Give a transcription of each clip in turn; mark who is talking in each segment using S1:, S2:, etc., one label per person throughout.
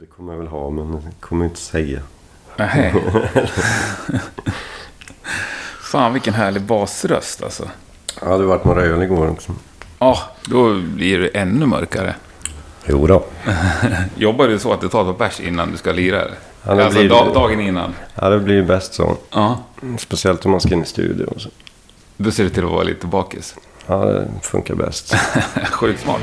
S1: det kommer jag väl ha, men det kommer jag inte säga.
S2: Nej. Fan vilken härlig basröst alltså.
S1: Ja, det varit några öl igår också.
S2: Ja, då blir det ännu mörkare.
S1: Jo då.
S2: Jobbar du så att du tar ett par bärs innan du ska lira? eller?
S1: Ja, det
S2: alltså
S1: blir-
S2: da- dagen innan?
S1: Ja, det blir ju bäst så.
S2: Ja.
S1: Speciellt om man ska in i studio. och Så.
S2: Då ser det till att vara lite bakis.
S1: Ja, det funkar bäst.
S2: Sjukt smart.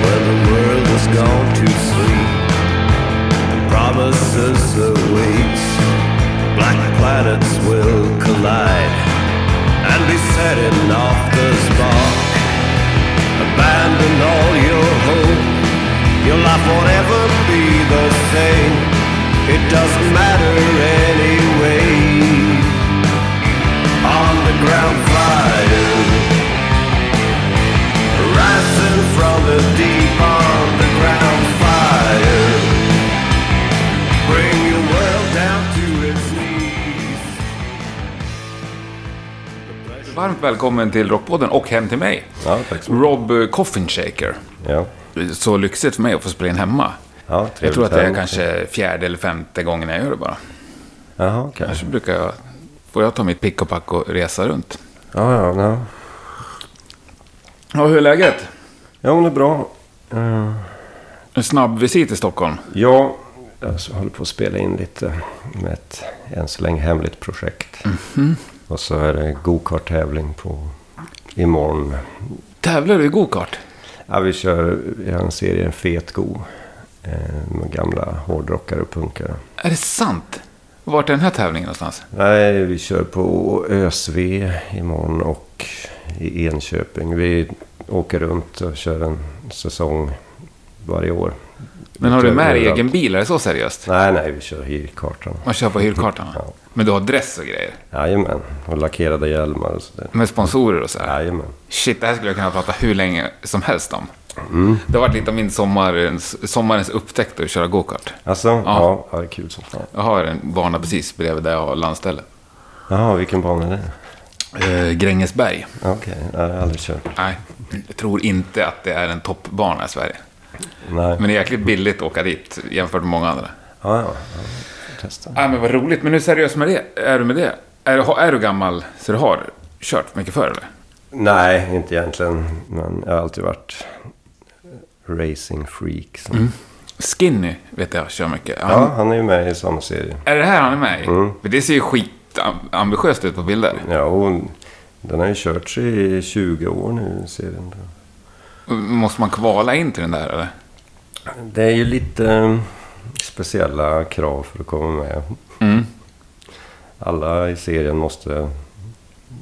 S3: when the world has gone to sleep. The promises await. Black planets will collide and be setting off the spark. Abandon all your hope. Your life won't ever be the same. It doesn't matter anyway. Underground fire rising from the deep underground fire. Bring your world down to its knees.
S2: Varmt välkommen till Rockpodden och hem till mig.
S1: Ja, tack så mycket.
S2: Rob eh, Coffinshaker.
S1: Ja,
S2: Så lyxigt för mig att få spela in hemma.
S1: ja trevligt.
S2: Jag tror att det är
S1: här.
S2: kanske fjärde eller femte gången jag gör det bara.
S1: Jaha, kanske.
S2: Annars brukar jag... Får jag ta mitt pick och pack och resa runt.
S1: Ja, ja, ja.
S2: Ja, hur är läget?
S1: Ja, men det är bra.
S2: En snabb visit i Stockholm.
S1: Ja, jag så håller på att spela in lite med ett än så länge hemligt projekt. Och så är det go-kart-tävling på imorgon.
S2: Tävlar du i gokart?
S1: Ja, vi kör, vi har en serie, en fet go. eh, Med gamla hårdrockare och punkare.
S2: Är det sant? Vart är den här tävlingen någonstans?
S1: Nej, vi kör på ÖSV imorgon och i Enköping. Vi åker runt och kör en säsong varje år.
S2: Men har
S1: Vi
S2: du
S1: kör
S2: med dig
S1: överallt.
S2: egen bil? Är det så seriöst?
S1: Nej, nej, vi kör hyrkartan.
S2: Man kör på hyrkartan? va?
S1: Ja.
S2: Men du har dress och grejer?
S1: Jajamän, och lackerade hjälmar och sådär.
S2: Med sponsorer och så här?
S1: Jajamän.
S2: Shit, det här skulle jag kunna prata hur länge som helst om.
S1: Mm.
S2: Det har varit lite av min sommarens, sommarens upptäckt att köra gokart.
S1: Alltså, ja, ja det är kul som fan.
S2: Jag har en bana precis bredvid där jag har landställe.
S1: Jaha, vilken bana är det?
S2: Eh, Grängesberg.
S1: Okej, nej, det har jag aldrig kört.
S2: Nej, jag tror inte att det är en toppbana i Sverige.
S1: Nej,
S2: Men det är jäkligt billigt att åka dit jämfört med många andra.
S1: ja, ja. ja testa.
S2: Ja, Ah, men vad roligt. Men hur seriös med det? är du med det? Är, du- är du gammal så du har kört mycket förr eller?
S1: Nej, inte egentligen. Men jag har alltid varit racing-freak. så.
S2: Skinny vet jag kör mycket. Han,
S1: Ja, Mm. han är ju med i samma serie.
S2: Är det här han är med i? För det ser ju skitambitiöst ut på bilder.
S1: Ja, och den har ju körts i 20 år nu, serien.
S2: Måste man kvala in till den där eller?
S1: Det är ju lite eh, speciella krav för att komma med. Alla i serien måste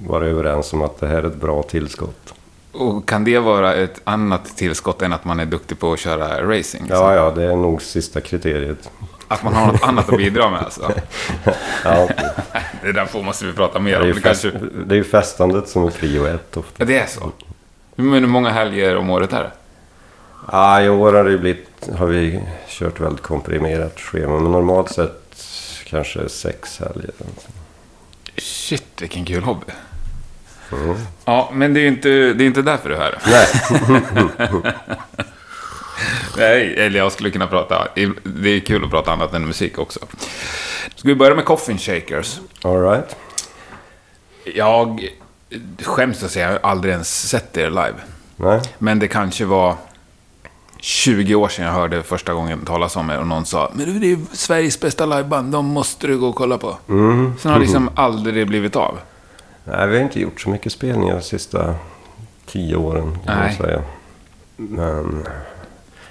S1: vara överens om att det här är ett bra tillskott.
S2: Och kan det vara ett annat tillskott än att man är duktig på att köra racing? liksom?
S1: Ja, ja, det är nog sista kriteriet.
S2: Att man har något annat att bidra med alltså?
S1: Ja,
S2: Det där får måste vi prata mer
S1: det, är
S2: om.
S1: ju
S2: Det,
S1: fest,
S2: kanske...
S1: det är ju festandet som är prio ofta.
S2: ja, det är så. Men hur många helger om året är det?
S1: Ja, i år har, det blivit, har vi kört väldigt komprimerat schema. Men normalt sett kanske sex helger.
S2: Shit, vilken kul hobby.
S1: Mm.
S2: Ja, men det är ju inte, det är inte därför du är här.
S1: Nej,
S2: Nej, eller jag skulle kunna prata. Det är kul att prata annat än musik också. Ska vi börja med Coffin Shakers?
S1: all right.
S2: Jag skäms att säga, jag har aldrig ens sett er live.
S1: Nej.
S2: Men det kanske var 20 år sedan jag hörde första gången talas om er och någon sa Men du, det är ju Sveriges bästa liveband, de måste du gå och kolla på. Sen har det liksom aldrig blivit av.
S1: Nej, vi har inte gjort så mycket spelningar de sista tio åren kan
S2: Nej.
S1: man säga. Men,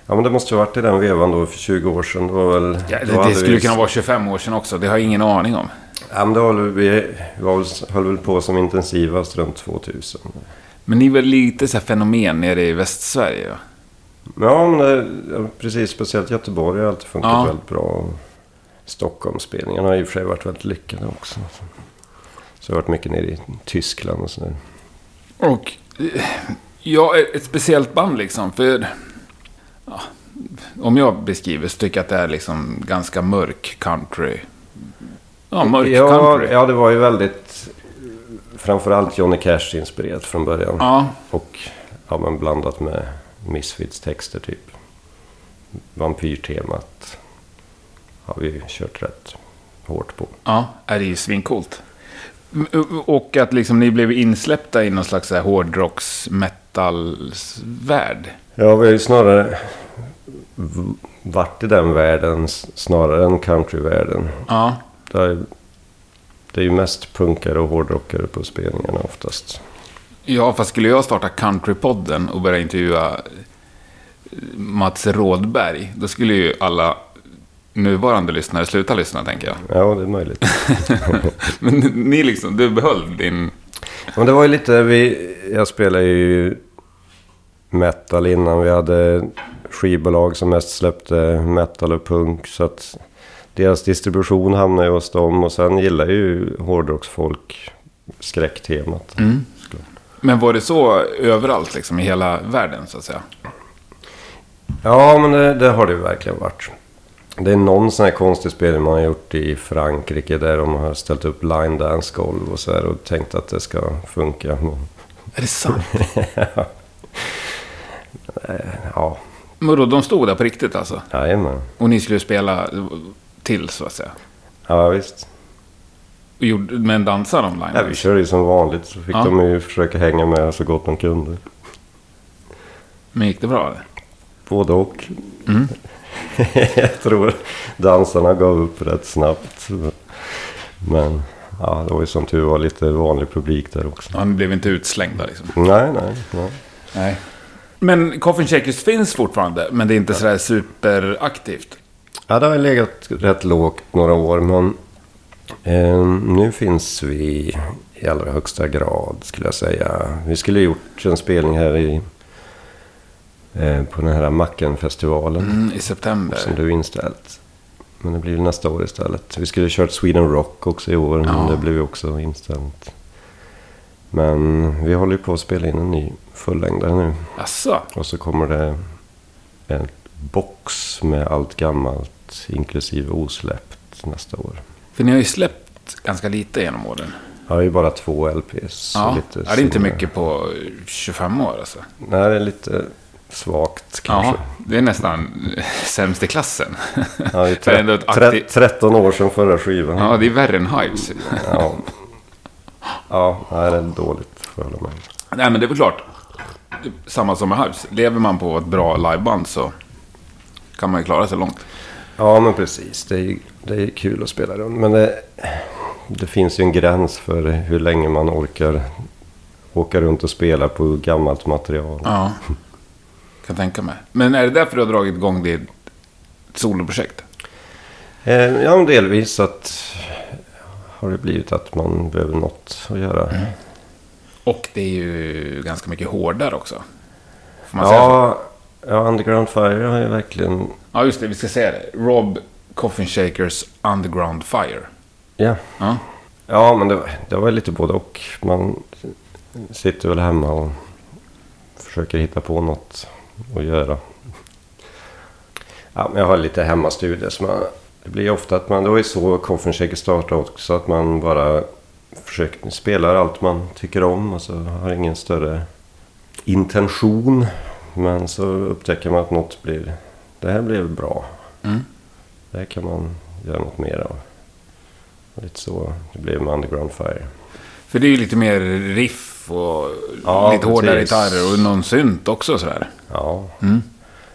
S1: ja, men det måste ju ha varit i den vevan då för 20 år sedan. Det var väl...
S2: Ja,
S1: då
S2: det,
S1: hade
S2: det skulle
S1: vi,
S2: kunna vara 25 år sedan också, det har jag ingen aning om.
S1: Ja, men det höll vi vi var, väl- höll väl på som intensivast runt 2000.
S2: Men ni är väl lite så här fenomen nere i Västsverige? va?
S1: Ja, men det, ja, precis. Speciellt Göteborg har alltid funkat
S2: Ja.
S1: väldigt bra. Stockholmsspelningarna har i och för sig varit väldigt lyckade också. Så jag har varit mycket nere i Tyskland och sådär.
S2: Och eh, jag är ett speciellt band liksom, för ja, om jag beskriver så tycker jag att det är liksom ganska mörk country. Ja, mörk
S1: Ja,
S2: country.
S1: ja, det var ju väldigt... Framförallt Johnny Cash inspirerat från början.
S2: Ja,
S1: Och ja, men blandat med Misfits texter typ. vampyrtemat har vi kört rätt hårt på.
S2: Ja, är det är ju svincoolt. M- Och att liksom ni blev insläppta i någon slags så här hårdrocks metalsvärld
S1: Ja, vi har ju snarare v- varit i den världen s- snarare än countryvärlden.
S2: Ja,
S1: Där, det är ju mest punkare och hårdrockare på spelningarna oftast.
S2: ja fast skulle jag starta Countrypodden och börja intervjua eh, Mats Rådberg, då skulle ju alla nuvarande lyssnare sluta lyssna, tänker jag.
S1: Ja, det är möjligt.
S2: Men ni liksom, du behöll din...
S1: Men det var ju lite, vi, jag spelade ju metal innan. Vi hade skivbolag som mest släppte metal och punk. Så att deras distribution hamnade ju hos dem. Och sen gillar ju hårdrocksfolk skräcktemat.
S2: Men var det så överallt, liksom, i hela världen, så att säga?
S1: Ja, men det, det har det ju verkligen varit. Det är någon sån här konstig spelning man har gjort i Frankrike där de har ställt upp line dance golv och så här och tänkt att det ska funka.
S2: Är det sant?
S1: Ja,
S2: Men då, de stod där på riktigt alltså?
S1: jajamän.
S2: Och ni skulle spela eh, till, så att säga?
S1: Ja, visst.
S2: Och gjorde, men dansade de
S1: Ja,
S2: line?
S1: vi körde ju som vanligt så fick
S2: Ja.
S1: de ju försöka hänga med så gott de kunde.
S2: Men gick det bra? eller?
S1: Både och. Jag tror dansarna gav upp rätt snabbt. Men ja, det var ju som tur var lite vanlig publik där också.
S2: Han blev inte utslängd där, liksom?
S1: Nej, nej, nej.
S2: Nej. Men Coffin Shakers finns fortfarande, men det är inte sådär superaktivt.
S1: Ja, det har legat rätt lågt några år, men eh, nu finns vi i allra högsta grad skulle jag säga. Vi skulle ha gjort en spelning här i, eh, på den här Macken-festivalen
S2: Mm, I september.
S1: som du inställt. Men det blir nästa år istället. Vi skulle ha kört Sweden Rock också i år, men
S2: Ja.
S1: det blev ju också inställt. Men vi håller ju på att spela in en ny fullängdare nu.
S2: Jaså?
S1: Och så kommer det en box med allt gammalt, inklusive osläppt, nästa år.
S2: För ni har ju släppt ganska lite genom åren.
S1: Ja, det är ju bara två LPs. och
S2: Ja,
S1: lite
S2: ja, det är inte
S1: singlar.
S2: mycket på 25 år alltså.
S1: Nej, det är lite svagt kanske.
S2: Ja, det är nästan sämst i klassen.
S1: Ja, det är
S2: För ändå
S1: tre-
S2: ett aktivt-
S1: tre- 13 år sedan förra skivan.
S2: Ja, det är värre än Hives.
S1: Ja, ja nej, det är dåligt, får jag hålla med.
S2: Nej, men det är väl klart. Samma som med Hives. Lever man på ett bra liveband så kan man ju klara sig långt.
S1: Ja, men precis. Det är, det är kul att spela runt. Men det, det finns ju en gräns för hur länge man orkar åka runt och spela på gammalt material.
S2: Ja, kan tänka mig. Men är det därför du har dragit igång ditt soloprojekt?
S1: Eh, Ja, men delvis att har det blivit att man behöver något att
S2: Mm.
S1: göra.
S2: Och det är ju ganska mycket hårdare också. Får man säga så?
S1: Ja, ja, Underground Fire har ju verkligen...
S2: ja, just det. Vi ska säga det. Rob Coffin Shakers Underground Fire.
S1: Ja,
S2: Ja,
S1: ja men det, var- det var lite både och. Man sitter väl hemma och försöker hitta på något att göra. Ja, men jag har lite hemmastudier. Så man, det blir ofta att man... Det var ju så Coffin Shaker startade också. Att man bara försöker, spelar allt man tycker om och så har ingen större intention. Men så upptäcker man att något blir... Det här blev bra. Det här kan man göra något mer av. Och Lite så det blev med Underground Fire.
S2: för det är ju lite mer riff och
S1: Ja,
S2: lite hårdare
S1: precis.
S2: gitarrer och någon synt också sådär.
S1: Ja.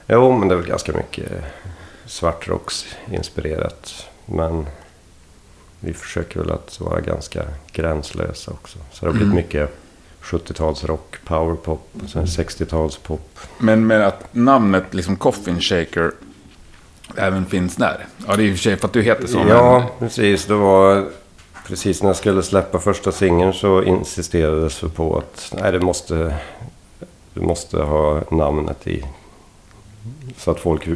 S1: Jo, men det är väl ganska mycket svartrocksinspirerat. Men vi försöker väl att vara ganska gränslösa också. Så det har blivit mycket 70-talsrock, powerpop, och sen 60-talspop.
S2: Men med att namnet liksom Coffin Shaker även finns där. Ja, det är ju i och för sig för att du heter så.
S1: Ja, precis. Det var precis när jag skulle släppa första singeln så insisterades det på att nej, det måste, du måste ha namnet i. Så att folk...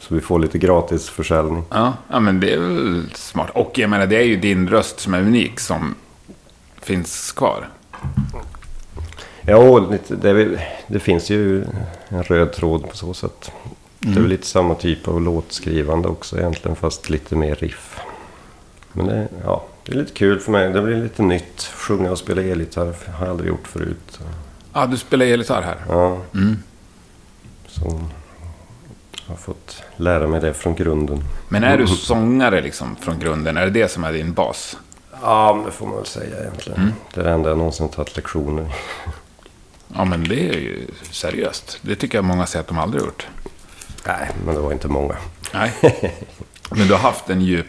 S1: Så vi får lite gratis försäljning.
S2: Ja, ja, men det är väl smart. Och jag menar, det är ju din röst som är unik som finns kvar.
S1: Ja, och lite, det, är väl- det finns ju en röd tråd på så sätt. Det är väl lite samma typ av låtskrivande också egentligen, fast lite mer riff. Men det, ja, det är lite kul för mig. Det blir lite nytt. Sjunga och spela elgitarr har jag aldrig gjort förut.
S2: Mm. Ja, du spelar elgitarr här.
S1: Ja. Så, har fått lära mig det från grunden.
S2: Men är du sångare liksom från grunden? Är det det som är din bas?
S1: Ja, men det får man väl säga egentligen.
S2: Mm.
S1: Det är det enda jag någonsin tagit lektioner i.
S2: Ja, men det är ju seriöst. Det tycker jag många säger att de aldrig gjort.
S1: Nej, men det var inte många.
S2: Nej. Men du har haft en djup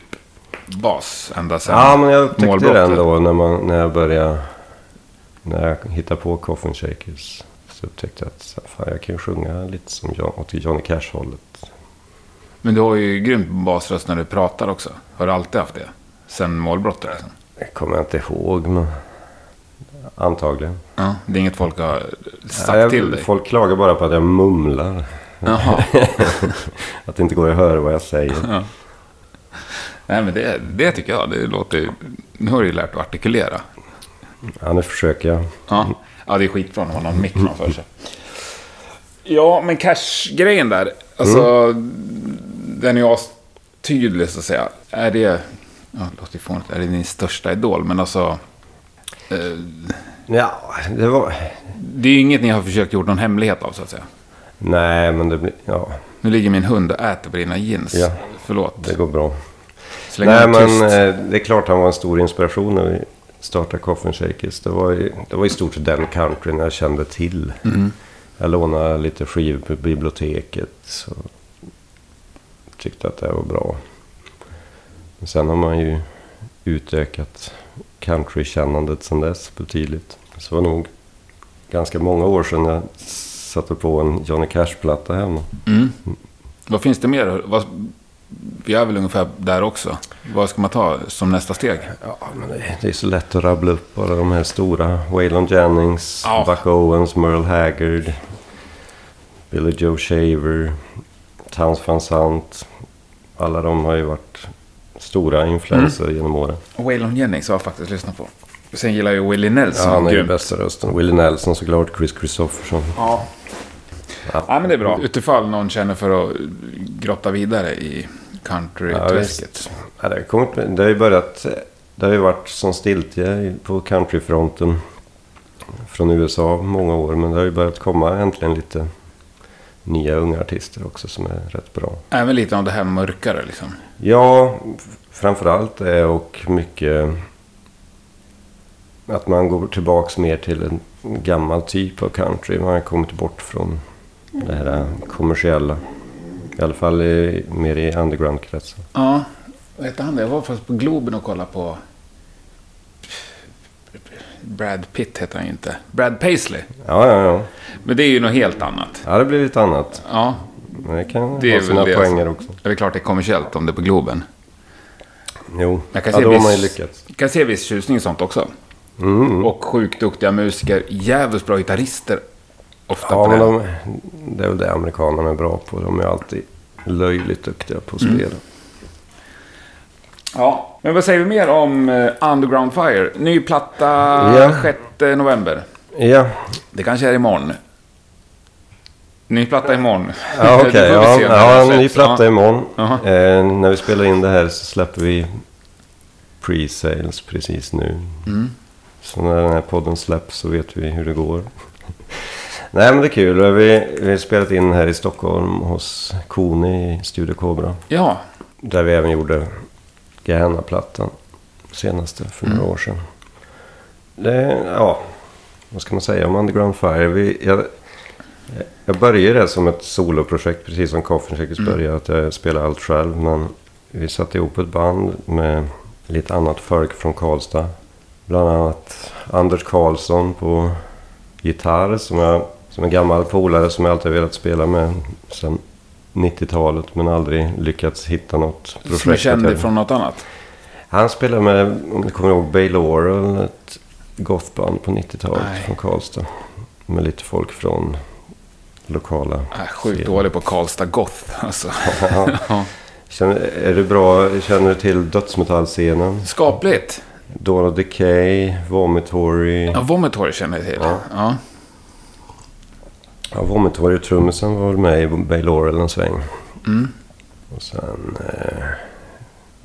S2: bas ända sedan
S1: Ja, men jag upptäckte
S2: målbrottet.
S1: den då när, man, när jag började... När jag hittade på Coffin Shakers. Så upptäckte jag att så här, fan, jag kan ju sjunga lite som John, åt Johnny Cash-hållet.
S2: Men du har ju grymt basröst när du pratar också. Har du alltid haft det? Sen målbrottet liksom?
S1: Det kommer jag inte ihåg, men... Antagligen.
S2: Ja, det är inget folk har sagt
S1: Nej, jag-
S2: till dig?
S1: Folk klagar bara på att jag mumlar.
S2: Jaha.
S1: Att det inte går att höra vad jag säger.
S2: Nej, men det, det tycker jag. Det låter ju... Nu har du ju lärt dig att artikulera.
S1: Ja, nu försöker jag.
S2: Ja, ja det är skitbra när man har en mick framför sig. Ja, men cash-grejen där. Alltså,
S1: Mm.
S2: den är ju tydlig så att säga. Är det... Ja, det låter ju fånigt. Är det din största idol? Men alltså... eh,
S1: Ja, det var...
S2: Det är ju inget ni har försökt gjort någon hemlighet av så att säga.
S1: Nej, men det blir... Ja,
S2: Nu ligger min hund och äter på dina jeans.
S1: Ja.
S2: Förlåt.
S1: det går bra.
S2: Släng
S1: Nej,
S2: den tyst.
S1: men eh, det är klart han var en stor inspiration när vi startade Coffin Shakers. Det var, ju, det var i stort sett den countryn jag kände till. Jag lånade lite skivor på biblioteket. Så tyckte att det här var bra. Men sen har man ju utökat countrykännandet sen dess betydligt. Så det var nog ganska många år sedan jag satte på en Johnny Cash-platta hemma.
S2: Vad finns det mer? Vad... Vi är väl ungefär där också. Vad ska man ta som nästa steg?
S1: Ja, men det, det är så lätt att rabbla upp bara de här stora. Waylon Jennings,
S2: Ja.
S1: Buck Owens, Merle Haggard, Billy Joe Shaver, Towns Van Sant. Alla de har ju varit stora influenser genom åren.
S2: Waylon Jennings har jag faktiskt lyssnat på. Sen gillar jag ju Willie
S1: Ja,
S2: Nelson.
S1: han är ju
S2: grymt.
S1: bästa rösten. Willie Nelson såklart, Chris Christopherson.
S2: Ja. ja, men det är bra. Utifall någon känner för att grotta vidare i countryträsket.
S1: Ja, det, har kommit, det har ju börjat... Det har ju varit som stiltje i- på countryfronten från USA många år. Men det har ju börjat komma äntligen lite nya unga artister också som är rätt bra.
S2: Även lite av det här mörkare liksom.
S1: Ja, f- framförallt det och mycket att man går tillbaks mer till en gammal typ av country. Man har kommit bort från det här kommersiella. I alla fall i, mer i undergroundkretsar.
S2: Ja, vad hette han det? Jag var faktiskt på Globen och kollade på... Brad Pitt heter han ju inte. Brad Paisley.
S1: Ja, ja, ja.
S2: Men det är ju något helt annat.
S1: Ja, det blir lite annat.
S2: Ja,
S1: Men Det kan
S2: Det är
S1: ha
S2: väl
S1: sina
S2: det, alltså.
S1: poänger också.
S2: det är klart det är kommersiellt om det är på Globen.
S1: Jo,
S2: Jag kan
S1: ja,
S2: se,
S1: då har man ju
S2: viss,
S1: lyckats. Mm.
S2: kan se viss tjusning i sånt också. Och sjukt duktiga musiker. Jävligt bra gitarrister. Ofta
S1: Ja,
S2: på
S1: men
S2: den.
S1: de, det är väl det amerikanerna är bra på. De är alltid löjligt duktiga på
S2: Mm.
S1: att spela.
S2: Ja, men vad säger vi mer om eh, Underground Fire? Ny platta
S1: Ja.
S2: 6 november.
S1: Ja,
S2: Det kanske är imorgon. Ny platta imorgon.
S1: ja okej.
S2: Det får vi
S1: ja,
S2: se när
S1: ja,
S2: den
S1: en ny
S2: släpps.
S1: platta imorgon.
S2: Jaha.
S1: Eh, när vi spelar in det här så släpper vi pre-sales precis nu.
S2: Mm.
S1: Så när den här podden släpps så vet vi hur det går. Nej, men det är kul. Vi, vi har spelat in här i Stockholm hos Koni i Studio Cobra.
S2: Ja.
S1: Där vi även gjorde Gahanna-plattan. Senaste, för några år sedan. Det, ja, vad ska man säga om Underground Fire? Vi, jag, jag började det som ett soloprojekt, precis som Coffin Shakers
S2: Mm.
S1: började. Att jag spelade allt själv. Men vi satte ihop ett band med lite annat folk från Karlstad. Bland annat Anders Karlsson på gitarr. Som, jag, som en gammal polare som jag alltid velat spela med sedan 90-talet. Men aldrig lyckats hitta något projekt.
S2: Som är känd
S1: att jag-
S2: ifrån något annat.
S1: han spelade med, om du kommer ihåg, Bay Laurel, ett gothband på 90-talet
S2: Nej.
S1: från Karlstad. Med lite folk från lokala...
S2: Äh, sjukt
S1: scenen.
S2: dålig på Karlstad Goth. Alltså.
S1: Ja.
S2: Ja.
S1: Känner, är du bra, känner du till dödsmetallscenen?
S2: Skapligt.
S1: Dawn of Decay, Vomitory.
S2: Ja, Vomitory känner jag till. Ja.
S1: Ja.
S2: Ja.
S1: Ja, Vomitory och trummisen var väl med i Bay Laurel en sväng.
S2: Mm.
S1: Och sen... Eh,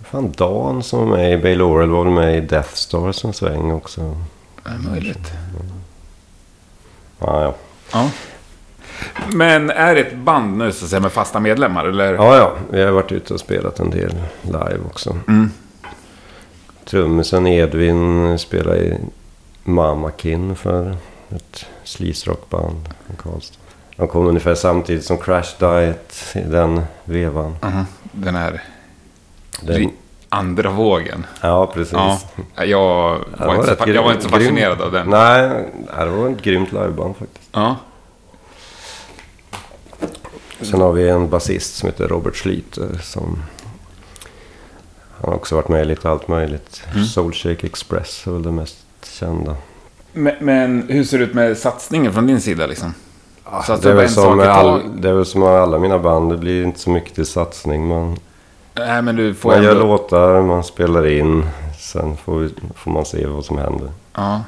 S1: fan, Dan som var med i Bay Laurel var väl med i Death Stars en sväng också.
S2: Det är möjligt.
S1: Ja, ja.
S2: Ja. Men är det ett band nu så att säga, med fasta medlemmar? Eller?
S1: Ja, ja. Vi har varit ute och spelat en del live också.
S2: Mm.
S1: Trummisen Edvin spelade i Mamakin för ett sleaze-rockband från Karlstad. De kom ungefär samtidigt som Crash Diet i den vevan.
S2: Mhm. Den här
S1: Den,
S2: andra vågen.
S1: ja, precis.
S2: Ja. Jag,
S1: Det
S2: var inte
S1: rätt
S2: så, jag var inte så
S1: grymt-
S2: fascinerad av den.
S1: Nej, det var ett grymt liveband faktiskt.
S2: Ja.
S1: Sen har vi en basist som heter Robert Schlyter eh, som... Han har också varit med i lite allt möjligt.
S2: Mm.
S1: Soulshake Express är väl det mest kända.
S2: Men, men hur ser det ut med satsningen från din sida liksom? Så att
S1: Ah, det, är
S2: det var
S1: väl
S2: en sak
S1: som
S2: i
S1: med all,
S2: taget.
S1: det är väl som med alla mina band, det blir inte så mycket till satsning. Man,
S2: Nej, men du får
S1: man gör
S2: ändå...
S1: låtar, man spelar in, sen får, vi, får man se vad som händer.
S2: Ja.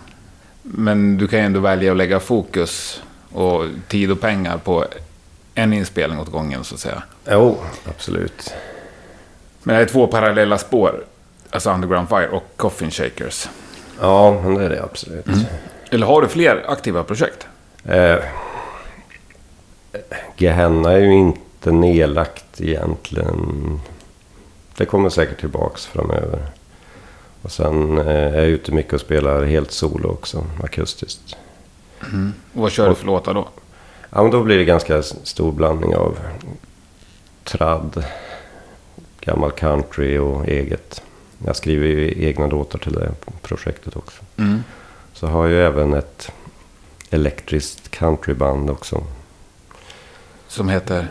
S2: Men du kan ju ändå välja att lägga fokus och tid och pengar på en inspelning åt gången så att säga.
S1: Jo, absolut.
S2: Men det är två parallella spår. Alltså Underground Fire och Coffin Shakers.
S1: Ja, men det är det absolut.
S2: Eller har du fler aktiva projekt?
S1: Eh, Gehenna är ju inte nedlagt egentligen. Det kommer säkert tillbaks framöver. Och sen eh, är jag ute mycket och spelar helt solo också, akustiskt.
S2: Och vad kör du för låtar då?
S1: Ja, men då blir det ganska s- stor blandning av trad, gammal country och eget. Jag skriver ju egna låtar till det projektet också.
S2: Mm.
S1: Så har jag ju även ett elektriskt countryband också.
S2: Som heter...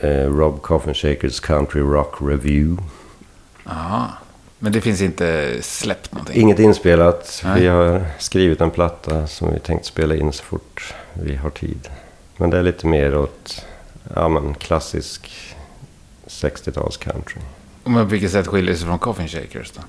S1: Eh, Rob Coffin Shakers Country Rock Review.
S2: Aha. Men det finns inte släppt någonting?
S1: Inget inspelat.
S2: Nej.
S1: Vi har skrivit en platta som vi tänkt spela in så fort vi har tid. Men det är lite mer åt ja, men klassisk 60-tals country.
S2: Men på vilket sätt skiljer det sig från Coffin Shakers då?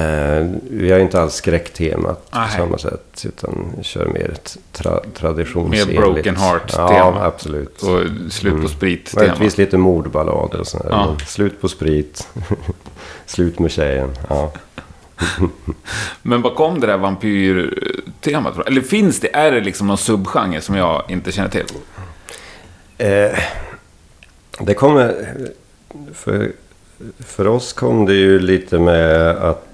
S1: Eh, vi har ju inte alls skräcktemat
S2: Nej.
S1: på samma sätt. Utan vi kör mer ett tra- traditionsenligt.
S2: Mer broken heart-tema.
S1: Ja, absolut.
S2: Och slut på sprit-tema?
S1: Möjligtvis lite mordballader och sådär.
S2: Ja.
S1: Men Slut på sprit. slut med tjejen. Ja.
S2: Men var kom det där vampyrtemat ifrån? Eller finns det? Är det liksom någon subgenre som jag inte känner till?
S1: Eh, det kommer... För, för oss kom det ju lite med att...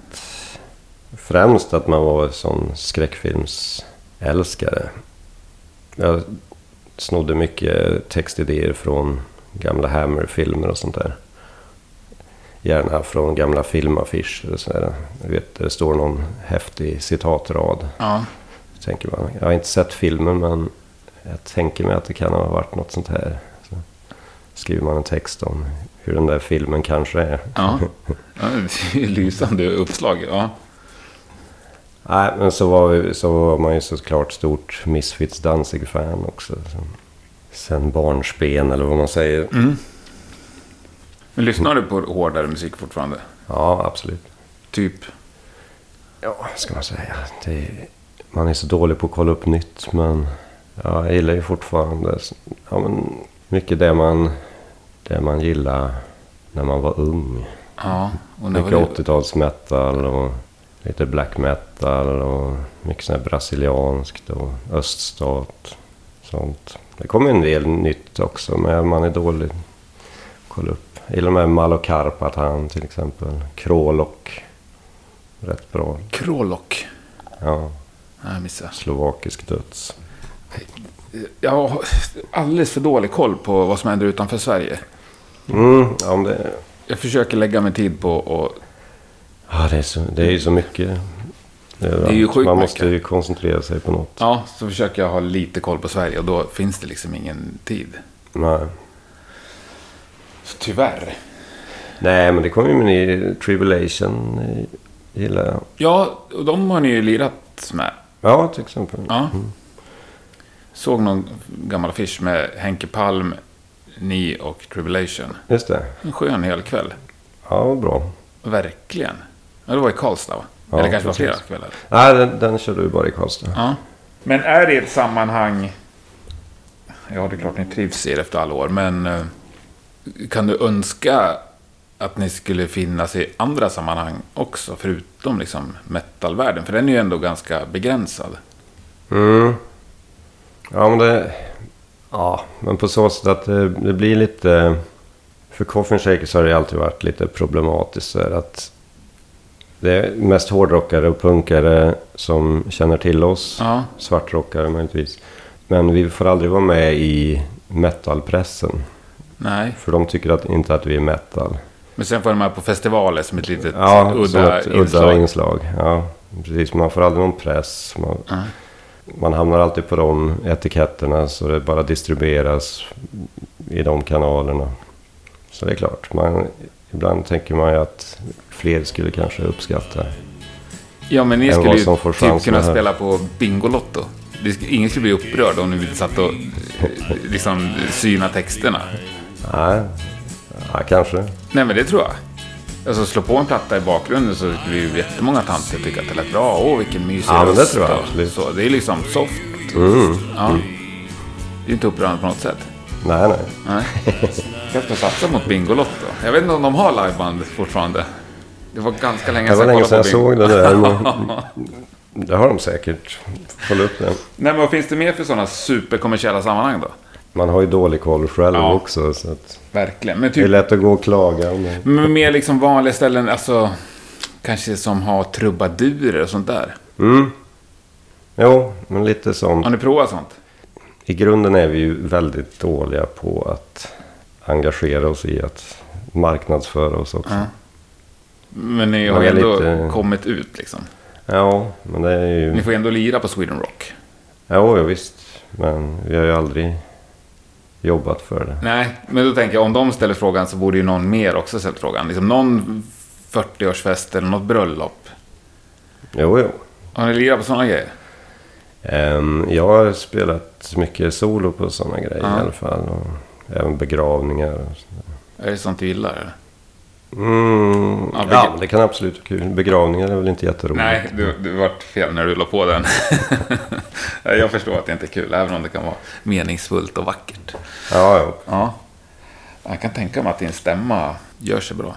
S1: Främst att man var en sån skräckfilmsälskare. Jag snodde mycket textidéer från gamla Hammer-filmer och sånt där. Gärna från gamla filmaffischer och sådär. Du vet, där det står någon häftig citatrad.
S2: Ja.
S1: Tänker man. Jag har inte sett filmen men jag tänker mig att det kan ha varit något sånt här. Så skriver man en text om hur den där filmen kanske är.
S2: Ja. ja det är ju lysande uppslag. Ja.
S1: Nej, men så var, vi, så var man ju såklart stort Misfits Danzig-fan också. Så. Sen barnsben eller vad man säger.
S2: Men lyssnar du på hårdare musik fortfarande?
S1: Ja, absolut.
S2: Typ?
S1: Ja, vad ska man säga. Det, man är så dålig på att kolla upp nytt men ja, jag gillar ju fortfarande ja, men mycket det man, det man gillar när man var ung.
S2: Ja. Och när var
S1: Mycket
S2: det?
S1: 80-talsmetal och lite black metal och mycket sånt här brasilianskt och öststat. Sånt. Det kommer en del nytt också men man är dålig. Kolla upp. Jag gillar de här Malokarpatan till exempel. Krolok. Rätt bra.
S2: Krolok.
S1: Ja,
S2: Nej, jag missade.
S1: slovakisk döds.
S2: Jag har alldeles för dålig koll på vad som händer utanför Sverige.
S1: Mm, ja, men det,
S2: Jag försöker lägga min tid på och
S1: ja, det, är så, det är ju så mycket.
S2: är ju
S1: överallt.
S2: sjukt
S1: Man
S2: mycket.
S1: måste ju koncentrera sig på något.
S2: Ja, så försöker jag ha lite koll på Sverige och då finns det liksom ingen tid.
S1: Nej.
S2: Så tyvärr.
S1: Nej, men det kommer ju med ny Tribulation. eh, Gillar jag.
S2: Ja, och de har ni ju lirat med.
S1: Ja, till exempel.
S2: Ja. Såg någon gammal affisch med Henke Palm, ni och Tribulation.
S1: Just det.
S2: En skön hel kväll.
S1: Ja, vad bra.
S2: Verkligen. Ja, det var i Karlstad va?
S1: Ja,
S2: Eller kanske var flera
S1: precis.
S2: kvällar.
S1: Nej, den, den körde vi bara i Karlstad.
S2: Ja. Men är det ett sammanhang... Ja, det är klart ni trivs i det efter alla år, men... eh, Kan du önska att ni skulle finnas i andra sammanhang också, förutom liksom metalvärlden? För den är ju ändå ganska begränsad.
S1: Mm. Ja, men det... Ja, men på så sätt att det, det blir lite... För Coffin Shakers har det alltid varit lite problematiskt så här att... Det är mest hårdrockare och punkare som känner till oss.
S2: Ja.
S1: Svartrockare möjligtvis. Men vi får aldrig vara med i metalpressen.
S2: Nej.
S1: För de tycker att, inte att vi är metal.
S2: Men sen får de här på festivaler som ett litet
S1: Ja, som
S2: udda
S1: ett
S2: inslag.
S1: udda inslag. Ja, precis. Man får aldrig någon press. Man,
S2: Nej.
S1: man hamnar alltid på de etiketterna så det bara distribueras i de kanalerna. Så det är klart, man, ibland tänker man ju att fler skulle kanske uppskatta.
S2: Ja, men ni
S1: Än
S2: skulle
S1: vad
S2: ju
S1: som får
S2: typ
S1: chansen
S2: kunna
S1: här.
S2: spela på Bingolotto. Det sk- Ingen skulle bli upprörd om ni satt och eh, liksom syna texterna.
S1: Nej, ja, kanske.
S2: Nej, men det tror jag. Alltså slå på en platta i bakgrunden så skulle ju jättemånga tanter tycka att det lät bra. Åh, vilken mysig
S1: Ja, men det
S2: röst
S1: tror jag
S2: och
S1: absolut.
S2: Så, det är liksom soft. Ja. Det är inte upprörande på något sätt.
S1: Nej, nej.
S2: Nej. Kanske satsa mot Bingolotto. Jag vet inte om de har liveband fortfarande. Det var ganska länge
S1: Det var
S2: sedan
S1: länge
S2: jag
S1: sedan
S2: kollade
S1: jag
S2: på Bingo.
S1: såg det där. men- Det har de säkert. Kolla upp det.
S2: Nej, men vad finns det mer för sådana superkommersiella sammanhang då?
S1: Man har ju dålig koll själv
S2: Ja.
S1: också. Så att
S2: Verkligen. Men
S1: det är
S2: typ
S1: lätt att gå och klaga. Men...
S2: men mer liksom vanliga ställen, alltså kanske som har trubadurer och sånt där.
S1: Mm. Jo, men lite sånt.
S2: Har ni provat sånt?
S1: I grunden är vi ju väldigt dåliga på att engagera oss i att marknadsföra oss också.
S2: Ja. Men ni har
S1: Men
S2: ju ändå
S1: lite-
S2: kommit ut liksom.
S1: Ja, men det är ju...
S2: Ni får ju ändå lira på Sweden Rock.
S1: Ja, ja, visst. Men vi har ju aldrig jobbat för det.
S2: Nej, men då tänker jag om de ställer frågan så borde ju någon mer också ställt frågan. Liksom någon 40-årsfest eller något bröllop.
S1: Jo, jo.
S2: Har ni lirat på sådana grejer?
S1: Ehm, jag har spelat mycket solo på sådana grejer
S2: Ja.
S1: i alla fall. Och även begravningar. och sånt där.
S2: Är det sånt du gillar eller?
S1: Mm,
S2: Ja,
S1: ja,
S2: beg-
S1: men det kan absolut vara kul. Begravningar är väl inte jätteroligt.
S2: Nej, du, du vart fel när du la på den. Nej, jag förstår att det inte är kul, även om det kan vara meningsfullt och vackert.
S1: Ja, ja.
S2: Ja. Jag kan tänka mig att din stämma gör sig bra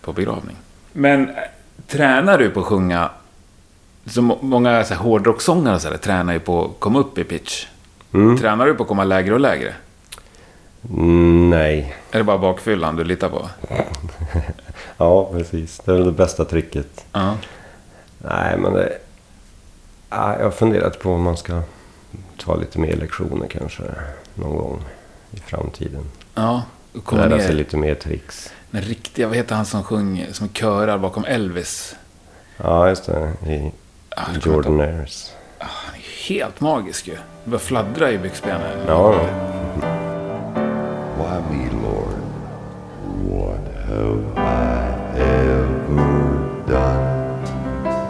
S2: på begravning. Men eh, tränar du på att sjunga? Så må- många så här, hårdrocksångare och så här, tränar ju på att komma upp i pitch. Tränar du på att komma lägre och lägre?
S1: Mm, nej.
S2: Är det bara bakfyllan du litar på?
S1: Ja, precis. Det är väl det bästa tricket.
S2: Ja.
S1: Nej, men det... Ja, jag har funderat på om man ska ta lite mer lektioner kanske någon gång i framtiden.
S2: Ja. och Komma
S1: Lära sig
S2: ner.
S1: lite mer tricks.
S2: Den riktiga, vad heter han som sjöng, som körar bakom Elvis?
S1: Ja, just det. I
S2: Ah, jag kommer
S1: Jordan Airs.
S2: Han är helt magisk ju. Det börjar fladdra i byxbenen.
S1: Ja, ja.
S4: Why me, Lord? What have I ever done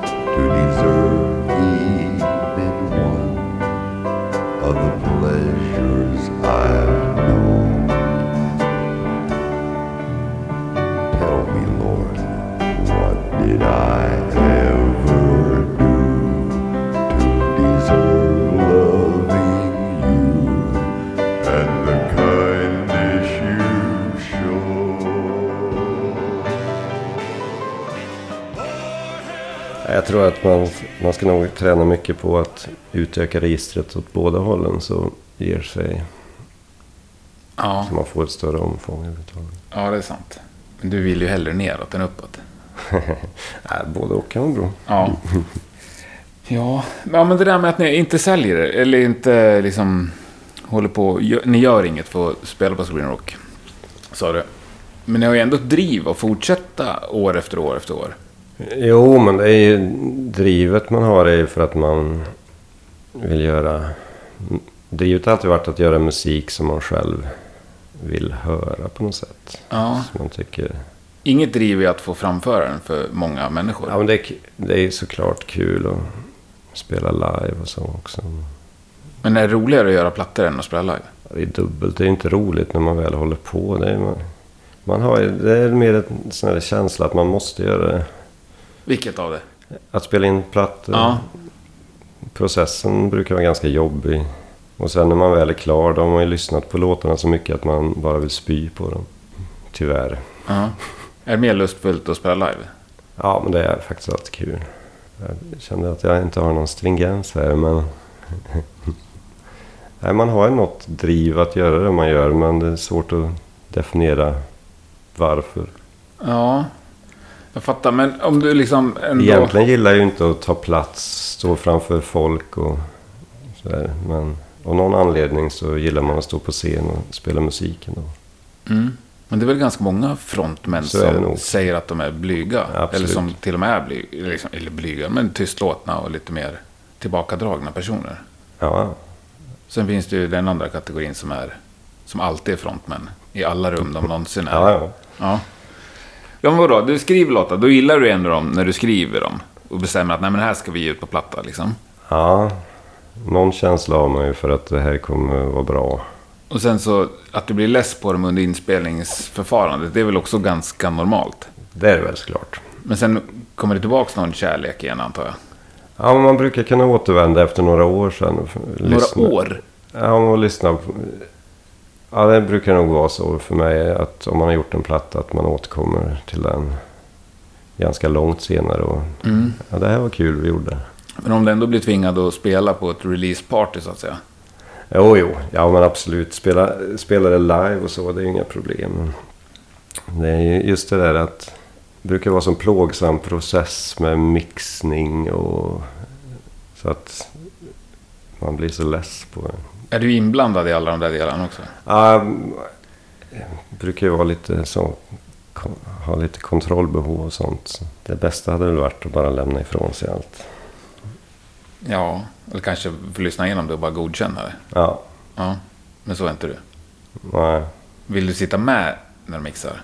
S4: to deserve even one of the pleasures I've known? Tell me, Lord, what did I ever do to deserve loving you? and the kindness you show.
S1: Jag tror att man, man ska nog träna mycket på att utöka registret åt båda hållen så ger sig,
S2: Ja,
S1: så man får ett större omfång överhuvudtaget.
S2: ja, det är sant. Men du vill ju hellre neråt än uppåt.
S1: Nej, både och kan vara bra.
S2: Ja. Ja, ja men det där med att ni inte säljer det, eller inte liksom håller på, gö- ni gör inget för att spela på Sweden Rock. Sa du. Men ni har ju ändå ett driv att fortsätta år efter år efter år.
S1: Jo, men det är ju drivet man har är ju för att man vill göra... Drivet har alltid varit att göra musik som man själv vill höra på något sätt.
S2: Ja.
S1: Som man tycker...
S2: Inget driv är att få framföra den för många
S1: Ja,
S2: människor.
S1: men det är, k- det är ju såklart kul att spela live och så också.
S2: Men är det roligare att göra plattor än att spela live?
S1: Det är dubbelt. Det är ju inte roligt när man väl håller på. Det är, man, man har, ju- det är mer en sån här känsla att man måste göra det.
S2: Vilket av det?
S1: Att spela in plattor.
S2: Ja.
S1: processen brukar vara ganska jobbig. Och sen när man väl är klar, då har man ju lyssnat på låtarna så mycket att man bara vill spy på dem. Tyvärr.
S2: ja. Är det mer lustfullt att spela live?
S1: Ja, men det är faktiskt alltid kul. Jag kände att jag inte har någon stringens här, men... Nej, man har ju något driv att göra det man gör men det är svårt att definiera varför.
S2: Ja, jag fattar. Men om du liksom ändå...
S1: Egentligen gillar jag ju inte att ta plats, stå framför folk och sådär. Men av någon anledning så gillar man att stå på scen och spela musik ändå.
S2: Mm. Men det är väl ganska många frontmän
S1: Så är det
S2: som
S1: nog.
S2: säger att de är blyga.
S1: Absolut.
S2: Eller som till och med är blyga. Liksom, eller blyga, men tystlåtna och lite mer tillbakadragna personer.
S1: Ja,
S2: Sen finns det ju den andra kategorin som är som alltid är frontmän. I alla rum de någonsin är.
S1: ja, ja.
S2: Ja. Ja, men vadå? Du skriver låtar, då gillar du ändå dem när du skriver dem. Och bestämmer att nej, men det här ska vi ge ut på platta liksom.
S1: ja. Någon känsla har man ju för att det här kommer vara bra.
S2: Och sen så att du blir less på dem under inspelningsförfarandet, det är väl också ganska normalt.
S1: Det är det väl såklart.
S2: Men sen kommer det tillbaka någon kärlek igen antar jag.
S1: Ja, men man brukar kunna återvända efter några år sen. och f- lyssna-
S2: Några år?
S1: Ja, om man lyssnar på... Ja, det brukar nog vara så för mig att om man har gjort en platta att man återkommer till den ganska långt senare. Och,
S2: Mm.
S1: Ja, det här var kul vi gjorde.
S2: Men om du ändå blir tvingad att spela på ett releaseparty så att säga.
S1: Jo, jo. Ja, men absolut. Spela, spela det live och så, det är ju inga problem. Det är ju just det där att det brukar vara en plågsam process med mixning och... Så att man blir så less på det.
S2: Är du inblandad i alla de där delarna också?
S1: Ja, brukar ju vara lite så. kon- Ha lite kontrollbehov och sånt. Så Det bästa hade väl varit att bara lämna ifrån sig allt.
S2: Ja, eller kanske få lyssna igenom det och bara godkänna det.
S1: Ja,
S2: Ja, men så är inte du.
S1: nej.
S2: Vill du sitta med när de mixar?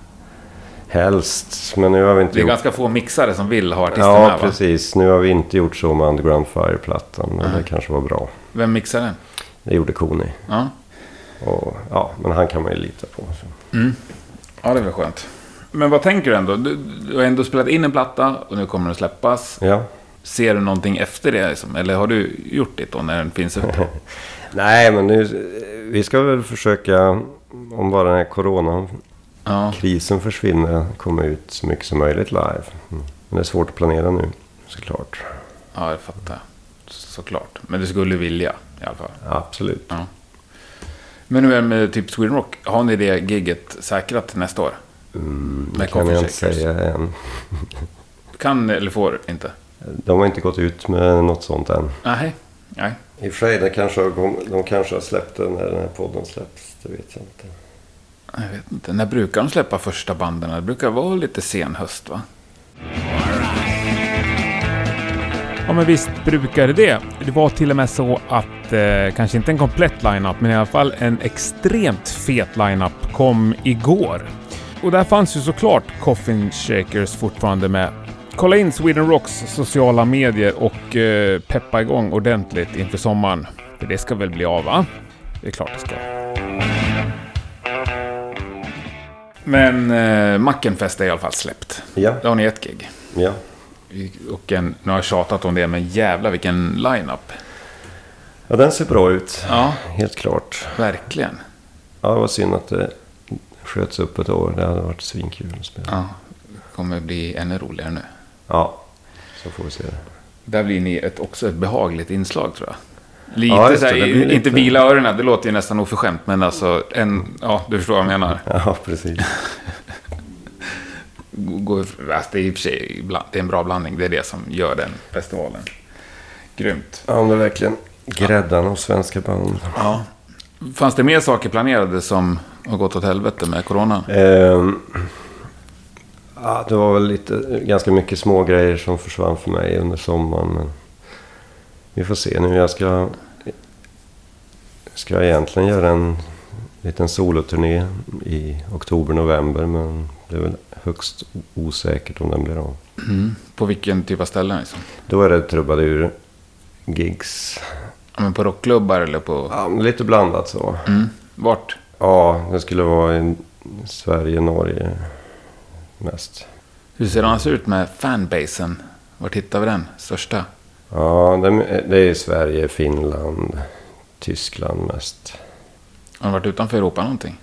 S1: Helst, men nu har vi inte
S2: Det är
S1: gjort...
S2: ganska få mixare som vill ha artisten med
S1: Ja,
S2: va?
S1: precis. Nu har vi inte gjort så med Underground Fire-plattan. Men det kanske var bra.
S2: Vem mixar den?
S1: Det gjorde Koni.
S2: Ja.
S1: Och, ja, men han kan man ju lita på. Så.
S2: ja, det är väl skönt. Men vad tänker du ändå? Du, du har ändå spelat in en platta och nu kommer den släppas.
S1: Ja.
S2: Ser du någonting efter det? Liksom? Eller har du gjort det då när den finns ute?
S1: Nej, men nu... Vi ska väl försöka, om bara den här coronan
S2: Ja.
S1: krisen försvinner komma ut så mycket som möjligt live. Mm. Men det är svårt att planera nu såklart.
S2: ja, jag fattar. Såklart. Men du skulle vilja i alla fall.
S1: Absolut.
S2: Ja. Men nu är det med typ Sweden Rock. Har ni det gigget säkrat nästa år?
S1: Mm, det
S2: Med
S1: kan jag inte
S2: coffee-shakers.
S1: säga än.
S2: Kan eller får inte?
S1: De har inte gått ut med något sånt än.
S2: Nej. Nej.
S1: I och för sig, det kanske har kom- de kanske har släppt den när den här podden släpps. Det vet jag inte.
S2: Jag vet inte. När brukar de släppa första banden? Det brukar vara lite sen höst, va?
S5: Ja men visst brukar det det. Det var till och med så att, eh, kanske inte en komplett lineup, men i alla fall en extremt fet lineup kom igår. Och där fanns ju såklart Coffin Shakers fortfarande med. Kolla in Sweden Rocks sociala medier och eh, peppa igång ordentligt inför sommaren. För det ska väl bli av va? Det är klart det ska.
S2: Men eh, Mackenfest är i alla fall släppt.
S1: Ja,
S2: Där har ni ett gig.
S1: ja.
S2: Och en, nu har jag tjatat om det, men jävla vilken line-up.
S1: ja den ser bra ut.
S2: Ja,
S1: Helt klart.
S2: verkligen.
S1: Ja, det var synd att det sköts upp ett år. Det hade varit svinkul att spela.
S2: Ja, det kommer bli ännu roligare nu.
S1: Ja, så får vi se det.
S2: Där blir ni ett, också ett behagligt inslag tror jag. Lite
S1: Ja, just
S2: så här,
S1: det, det blir
S2: inte
S1: lite-
S2: vila öronen, det låter ju nästan oförskämt, men alltså, en, ja, du förstår vad jag menar.
S1: Ja, precis.
S2: Gå, alltså, det är i och för sig, ibland- det är en bra blandning, det är det som gör den festivalen. Grymt.
S1: Ja, men det är verkligen gräddan av svenska band.
S2: Ja. Fanns det mer saker planerade som har gått åt helvete med corona?
S1: Ehm, ja, det var väl lite, ganska mycket små grejer som försvann för mig under sommaren. Men vi får se nu. Jag ska, ska jag egentligen göra en liten soloturné i oktober, november. Men det är väl högst osäkert om den blir av.
S2: På vilken typ av ställen liksom?
S1: Då är det trubadur, gigs.
S2: Ja, men på rockklubbar eller på...
S1: Ja, men lite blandat så.
S2: Mm. Vart?
S1: Ja, det skulle vara i Sverige, Norge mest.
S2: Hur ser det annars ut med fanbasen? Vart hittar vi den? Största?
S1: Ja, det, det är Sverige, Finland, Tyskland mest.
S2: Har de varit utanför Europa någonting?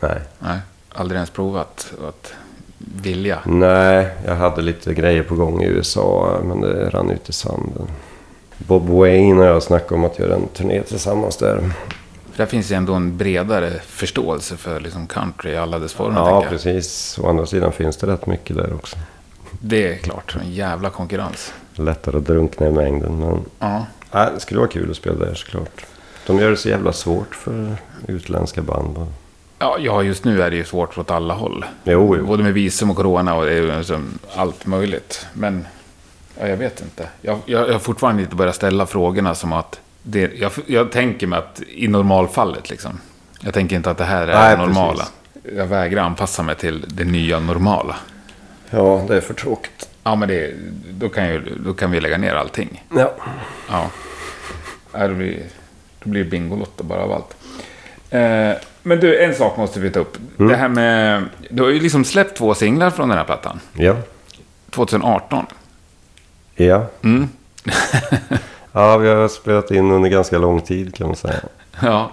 S1: Nej.
S2: Nej, aldrig ens provat att vilja.
S1: Nej, jag hade lite grejer på gång i USA, men det rann ut i sanden. Bob Wayne och jag snackade om att göra en turné tillsammans där.
S2: För där finns ju ändå en bredare förståelse för liksom country i alla dess former.
S1: Ja,
S2: tänker jag.
S1: precis. Å andra sidan finns det rätt mycket där också.
S2: Det är klart, en jävla konkurrens.
S1: Lättare att drunkna i mängden. Men
S2: Ja.
S1: ja, det skulle vara kul att spela där såklart. De gör det så jävla svårt för utländska band. bara.
S2: Ja, ja, just nu är det ju svårt åt alla håll.
S1: Jo, jo.
S2: Både med visum och corona och det är ju liksom allt möjligt. Men ja, jag vet inte. Jag, jag, jag har fortfarande inte börjat ställa frågorna som att... Det, jag, jag tänker mig att i normalfallet liksom. Jag tänker inte att det här är
S1: Nej,
S2: det normala. Jag vägrar anpassa mig till det nya normala.
S1: Ja, det är för tråkigt.
S2: Ja, men det, då, kan ju, då kan vi lägga ner allting.
S1: Ja.
S2: Ja. Ja, Då blir, då blir det Bingolotto bara av allt. Eh, men du, en sak måste vi ta upp.
S1: Mm.
S2: Det här med... Du har ju liksom släppt två singlar från den här plattan.
S1: Ja.
S2: 2018.
S1: Ja. Mm.
S2: Mm.
S1: ja, vi har spelat in under ganska lång tid kan man säga.
S2: Ja.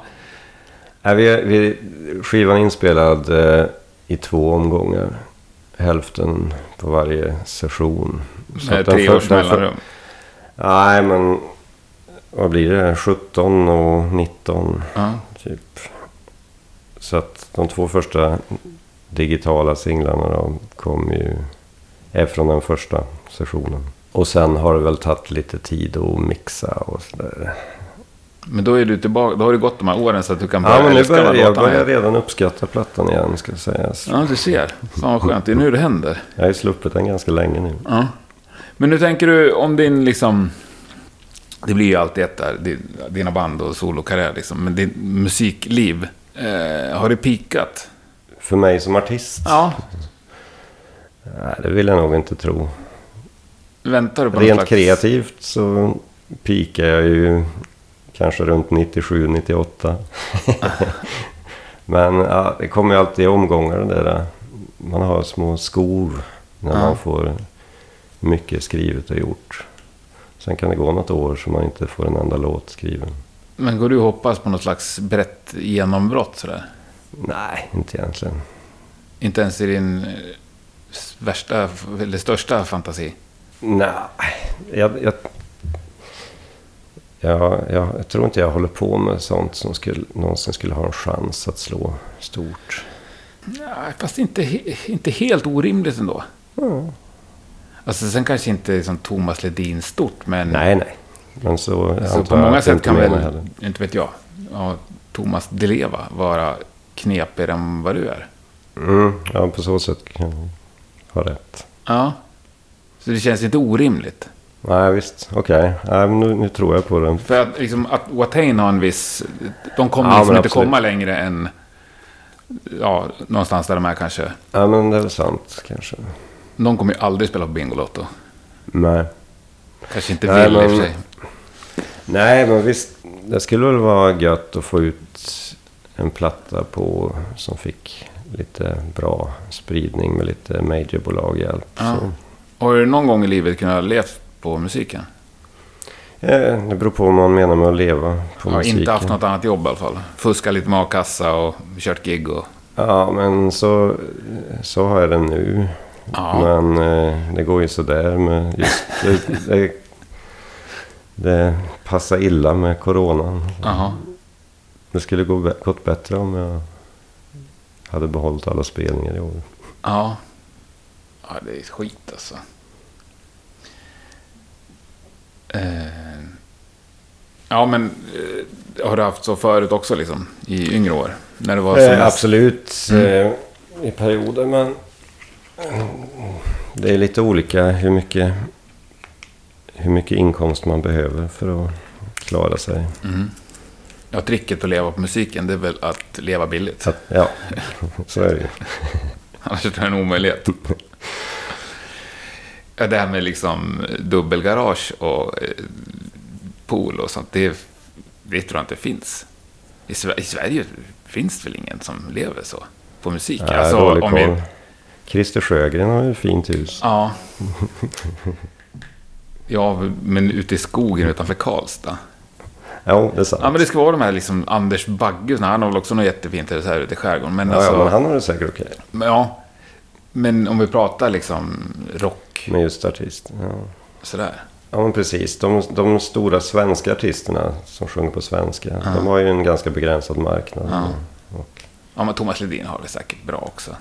S1: Nej, vi, vi, skivan är inspelad eh, i två omgångar. Hälften på varje session. Så
S2: Med
S1: att den
S2: Eh, tre
S1: för-
S2: års
S1: den för-
S2: mellanrum.
S1: Nej, men vad blir det? 17 och 19
S2: Ja.
S1: typ. Så att de två första digitala singlarna då, kom ju är från den första sessionen. Och sen har det väl tagit lite tid att mixa och sådär.
S2: Men då är du tillbaka. Då har det gått de här åren så att du kan börja
S1: Ja, men nu
S2: älska
S1: börjar
S2: vad
S1: jag
S2: låtarna
S1: börjar
S2: är.
S1: redan uppskatta plattan igen ska sägas.
S2: Ja, du ser. Fan vad skönt. Det är nu det händer.
S1: Jag har ju sluppit den ganska länge nu.
S2: Ja. Men nu tänker du om din liksom... Det blir ju alltid ett där, din- dina band och solokarriär liksom. Men ditt musikliv, eh, har det pikat?
S1: För mig som artist?
S2: Ja.
S1: Nej, det vill jag nog inte tro.
S2: Väntar du på någon
S1: Rent
S2: slags-
S1: kreativt så pikar jag ju kanske runt 97-98. Men ja, det kommer ju alltid i omgångar det där. Man har små skov när man får mycket skrivet och gjort. Sen kan det gå något år så man inte får en enda låt skriven.
S2: Men går du och hoppas på något slags brett genombrott sådär?
S1: Nej, inte egentligen.
S2: Inte ens i din eh, värsta, eller största fantasi?
S1: Nej, jag, jag, jag, jag, jag tror inte jag håller på med sånt som skulle, någonsin skulle ha en chans att slå stort.
S2: Nej, fast inte, he- inte helt orimligt ändå. Alltså, sen kanske inte liksom Thomas Ledin stort, men
S1: Nej, nej. Men så
S2: alltså, på
S1: jag
S2: många
S1: att
S2: sätt
S1: inte
S2: kan
S1: menar
S2: väl,
S1: heller.
S2: inte vet jag, ja, Thomas Deleva vara knepigare än vad du är.
S1: Mm, ja, på så sätt kan jag ha rätt.
S2: Ja. Så det känns inte orimligt.
S1: Nej, visst. Okej. Nej, men Nu, nu tror jag på den.
S2: För att, liksom, att Watain har en viss... De kommer
S1: Ja,
S2: liksom
S1: men
S2: inte
S1: absolut.
S2: komma längre än... Ja, någonstans där de är kanske.
S1: Ja, men det är väl sant kanske.
S2: De kommer ju aldrig spela på Bingolotto.
S1: Nej.
S2: Kanske inte
S1: Nej,
S2: vill i och
S1: men-
S2: för sig.
S1: Nej, men visst. Det skulle väl vara gött att få ut en platta på som fick lite bra spridning med lite majorbolag hjälp.
S2: Ja.
S1: Så,
S2: Har du någon gång i livet kunnat leva på musiken?
S1: eh, det beror på vad man menar med att leva på
S2: Jag har
S1: musiken.
S2: inte haft något annat jobb i alla fall. Fuskat lite med a-kassa och kört gig och...
S1: Ja, men så, så har jag den nu.
S2: Ja.
S1: Men eh, det går ju sådär med just... Det, det, det passar illa med coronan.
S2: Jaha.
S1: Det skulle gå, bä- gått bättre om jag hade behållit alla spelningar i år.
S2: Ja. Ja, det är skit alltså. Eh. Ja, men... eh, Har du haft så förut också liksom? I yngre år? När det var som Mm.
S1: Eh,
S2: mest-
S1: absolut eh, i perioder, men eh, det är lite olika hur mycket, hur mycket inkomst man behöver för att klara sig.
S2: Mm. Ja, tricket att leva på musiken, det är väl att leva billigt.
S1: Så att, ja, så är det ju.
S2: Annars är det en omöjlighet. Ja, det här med liksom dubbelgarage och eh, pool och sånt, det, det tror jag inte finns. I, Sve- I Sverige finns det väl ingen som lever så på musik? Alltså,
S1: Ja, dålig koll. Christer Sjögren har ju ett fint hus.
S2: Ja. Ja, men ute i skogen utanför Karlstad.
S1: Ja, det är sant.
S2: Ja, men det ska vara de här liksom Anders Bagge, och såna här, han har väl också något jättefint hus här ute i skärgården. Men
S1: Ja,
S2: alltså,
S1: ja, men han har det säkert okej.
S2: Men ja. Men om vi pratar liksom rock
S1: Men just artist. Ja.
S2: sådär.
S1: Ja, men precis. De, de stora svenska artisterna som sjunger på svenska, de har ju en ganska begränsad marknad. Och,
S2: Ja, men Thomas Ledin har det säkert bra också.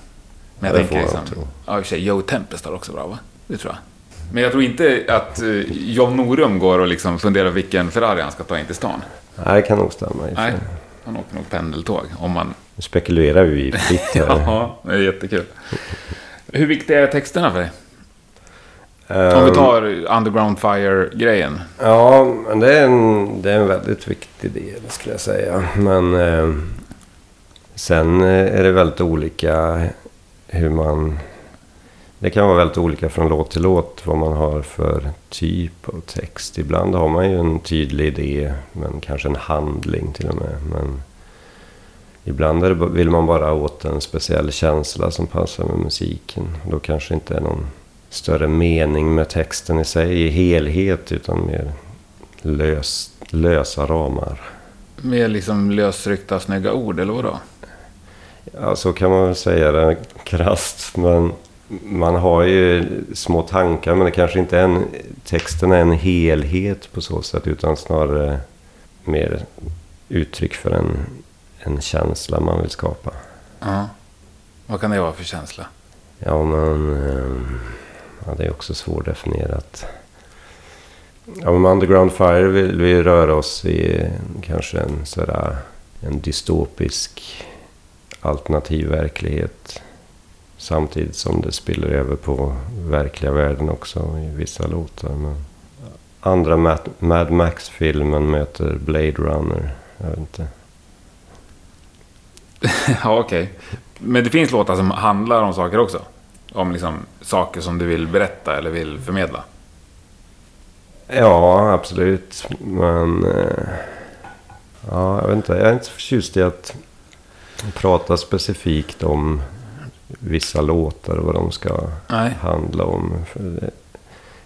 S2: Men
S1: Ja,
S2: jag
S1: det
S2: tänker
S1: får man
S2: liksom...
S1: tro.
S2: Ja, i och för sig, Joe Tempest har också bra, va? Det tror jag. Men jag tror inte att eh, John Norum går och liksom funderar vilken Ferrari han ska ta in till stan.
S1: nej, det kan nog stämma. i och för
S2: Nej,
S1: sig.
S2: han åker nog pendeltåg om man...
S1: Nu spekulerar vi ju fritt här.
S2: Ja, det är jättekul. Hur viktiga är texterna för dig? Om vi
S1: Ehm,
S2: tar Underground Fire-grejen.
S1: Ja, men det är, en, det är en väldigt viktig del skulle jag säga. Men eh, sen eh, är det väldigt olika hur man... Det kan vara väldigt olika från låt till låt vad man har för typ av text. Ibland har man ju en tydlig idé, men kanske en handling till och med. Men ibland är det, ba- vill man bara åt en speciell känsla som passar med musiken. Då kanske inte är någon större mening med texten i sig i helhet utan mer lös, lösa ramar.
S2: Med liksom lösryckta snygga ord, eller vadå?
S1: Ja, så kan man väl säga det krasst. Men man har ju små tankar men det kanske inte är en, texten är en helhet på så sätt utan snarare mer uttryck för en, en känsla man vill skapa.
S2: Ja. Vad kan det vara för känsla?
S1: Ja, men... ehm, Ja, det är också svårdefinierat. Ja, men med Underground Fire vill vi röra oss i eh, kanske en sådär... En dystopisk alternativ verklighet. Samtidigt som det spiller över på verkliga världen också i vissa låtar. Men andra Mad, Mad Max-filmen möter Blade Runner. Jag vet inte.
S2: ja, okej. Men det finns låtar som handlar om saker också? Om liksom saker som du vill berätta eller vill förmedla?
S1: Ja, absolut. Men... eh, Ja, jag vet inte. Jag är inte så förtjust i att prata specifikt om vissa låtar och vad de ska
S2: Nej.
S1: handla om. För det-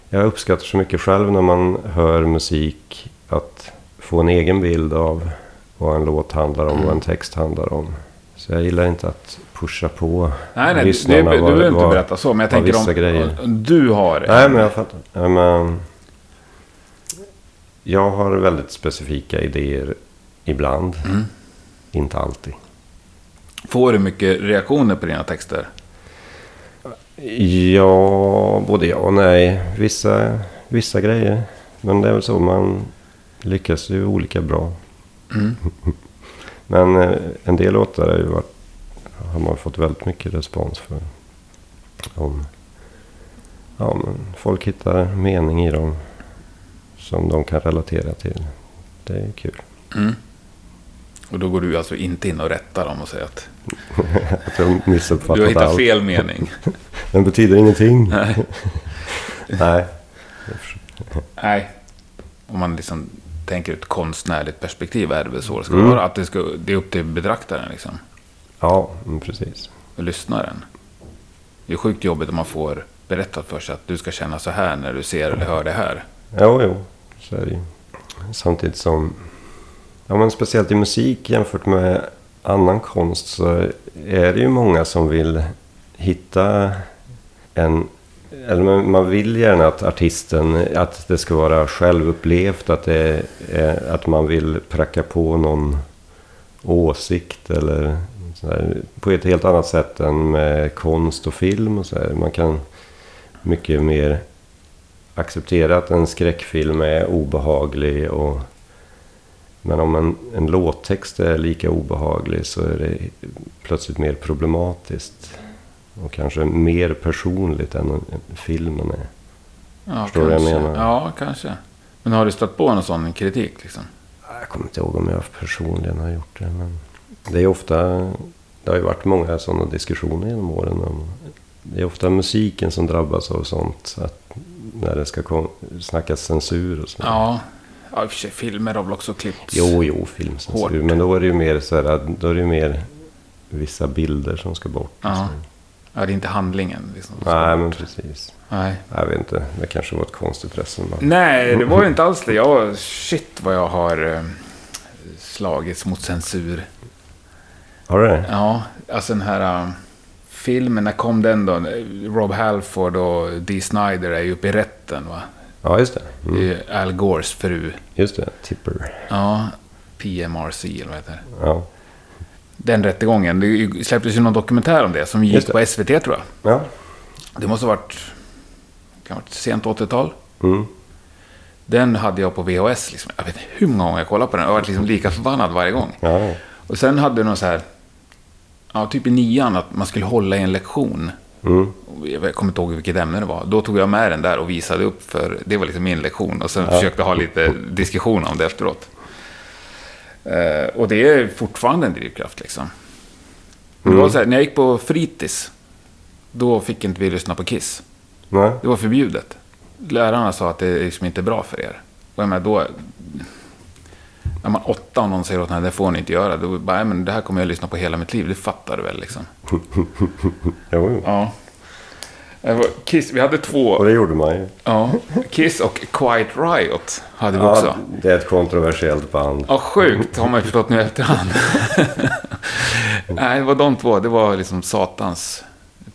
S1: Jag uppskattar så mycket själv när man hör musik att få en egen bild av vad en låt handlar om, vad
S2: Mm.
S1: en text handlar om. Så jag gillar inte att pusha på
S2: Nej, nej, du, du,
S1: lyssnarna
S2: du
S1: vad-
S2: behöver inte
S1: vad-
S2: berätta så, men jag
S1: vad
S2: tänker
S1: vissa
S2: om
S1: grejer.
S2: du har...
S1: Nej, men jag fattar. Ja, men, jag har väldigt specifika idéer ibland. Inte alltid.
S2: Får du mycket reaktioner på dina texter?
S1: Ja, både ja och nej. Vissa, vissa grejer. Men det är väl så, man lyckas ju olika bra.
S2: Mm.
S1: men eh, en del låtar har ju varit, har man fått väldigt mycket respons för. Om, ja, men folk hittar mening i dem som de kan relatera till. Det är ju kul.
S2: Och då går du alltså inte in och rättar dem och säger att
S1: Att jag
S2: du har
S1: missuppfattat
S2: hittat
S1: allt.
S2: fel mening.
S1: Den betyder ingenting.
S2: Nej.
S1: nej.
S2: Nej. Om man liksom tänker ur ett konstnärligt perspektiv är det väl så det
S1: Mm.
S2: ska vara. Att det, ska, det är upp till betraktaren liksom.
S1: Ja, men precis.
S2: och lyssnaren. Det är sjukt jobbigt om man får berättat för sig att du ska känna så här när du ser eller hör det här.
S1: Jo, jo, så är det ju. Samtidigt som... Ja, men speciellt i musik jämfört med annan konst så är det ju många som vill hitta en... Eller man man vill gärna att artisten, att det ska vara självupplevt, att, det är, att man vill pracka på någon åsikt eller sådär, på ett helt annat sätt än med konst och film och så här. Man kan mycket mer acceptera att en skräckfilm är obehaglig och men om en, en låttext är lika obehaglig så är det plötsligt mer problematiskt. Och kanske mer personligt än en- filmen är.
S2: Ja,
S1: Förstår du vad jag
S2: kanske.
S1: menar?
S2: Ja, kanske. Men har du stött på någon sån kritik liksom?
S1: Jag kommer inte ihåg om jag personligen har gjort det. Men det är ofta... Det har ju varit många sådana diskussioner genom åren. Om, det är ofta musiken som drabbas av sånt. Att när det ska kom, snackas censur och sånt.
S2: Ja. ja, i och för sig filmer har väl också klippts.
S1: Jo, jo, filmcensur.
S2: Hårt.
S1: Men då är det ju mer så här, att- då är det ju mer vissa bilder som ska bort.
S2: Ja. ja, det är inte handlingen liksom.
S1: Nej, men precis.
S2: Nej.
S1: Jag vet inte, det kanske var ett konstigt resonemang.
S2: Nej, det var ju inte alls det. Jag, shit vad jag har eh, slagits mot censur.
S1: Har du det?
S2: Ja, alltså den här um, filmen, när kom den då? Rob Halford och Dee Snyder är ju uppe i rätten va?
S1: Ja, just det. Mm.
S2: Det är ju Eh, Al Gores fru.
S1: Just det. Tipper.
S2: Ja, PMRC eller vad heter det?
S1: Ja.
S2: Den rättegången. Det släpptes ju någon dokumentär om det som gick
S1: Just det.
S2: på SVT tror jag.
S1: Ja.
S2: Det måste ha varit, kan ha varit sent 80-tal.
S1: Mm.
S2: Den hade jag på VHS. Liksom. Jag vet inte hur många gånger jag kollade på den. Jag har varit liksom lika förbannad varje gång.
S1: Ja, ja.
S2: Och sen hade du någon så här, ja, typ i nian, att man skulle hålla i en lektion.
S1: Mm.
S2: Och Jag kommer inte ihåg vilket ämne det var. Då tog jag med den där och visade upp för, det var liksom min lektion. Och sen försökte ha lite diskussion om det efteråt. Eh, och det är fortfarande en drivkraft liksom. Men Det var så här, när jag gick på fritids, då fick inte vi lyssna på Kiss.
S1: Nej.
S2: Det var förbjudet. Lärarna sa att det är liksom inte är bra för er. Och jag menar, då... När man är åtta och någon säger åt en, det får ni inte göra. Då bara, "Nej, men det här kommer jag lyssna på hela mitt liv. Det fattar du väl liksom.
S1: Jo, jo.
S2: Ja. Det var Kiss, vi hade
S1: Och
S2: två.
S1: det gjorde man ju.
S2: Ja. Kiss och Quiet Riot hade vi också.
S1: Ja, det är ett kontroversiellt band.
S2: Ja, sjukt har man ju förstått nu efterhand. Nej, det var de två. Det var liksom satans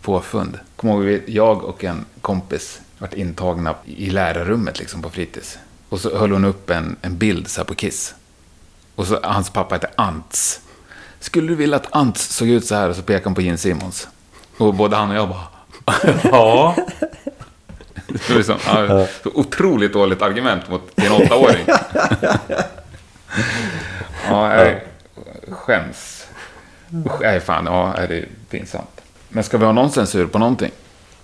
S2: påfund. Kommer ihåg, vi- jag och en kompis vart intagna i lärarrummet liksom på fritids. Och så höll hon upp en, en bild så här på Kiss. Och så hans pappa hette Ants. Skulle du vilja att Ants såg ut så här? Och så pekade han på Gene Simmons. Och både han och jag bara... ja. Det var liksom, ja, så otroligt dåligt argument mot din åttaåring. Ja, jag skäms. Usch, nej fan, ja, det är pinsamt. Men ska vi ha någon censur på någonting?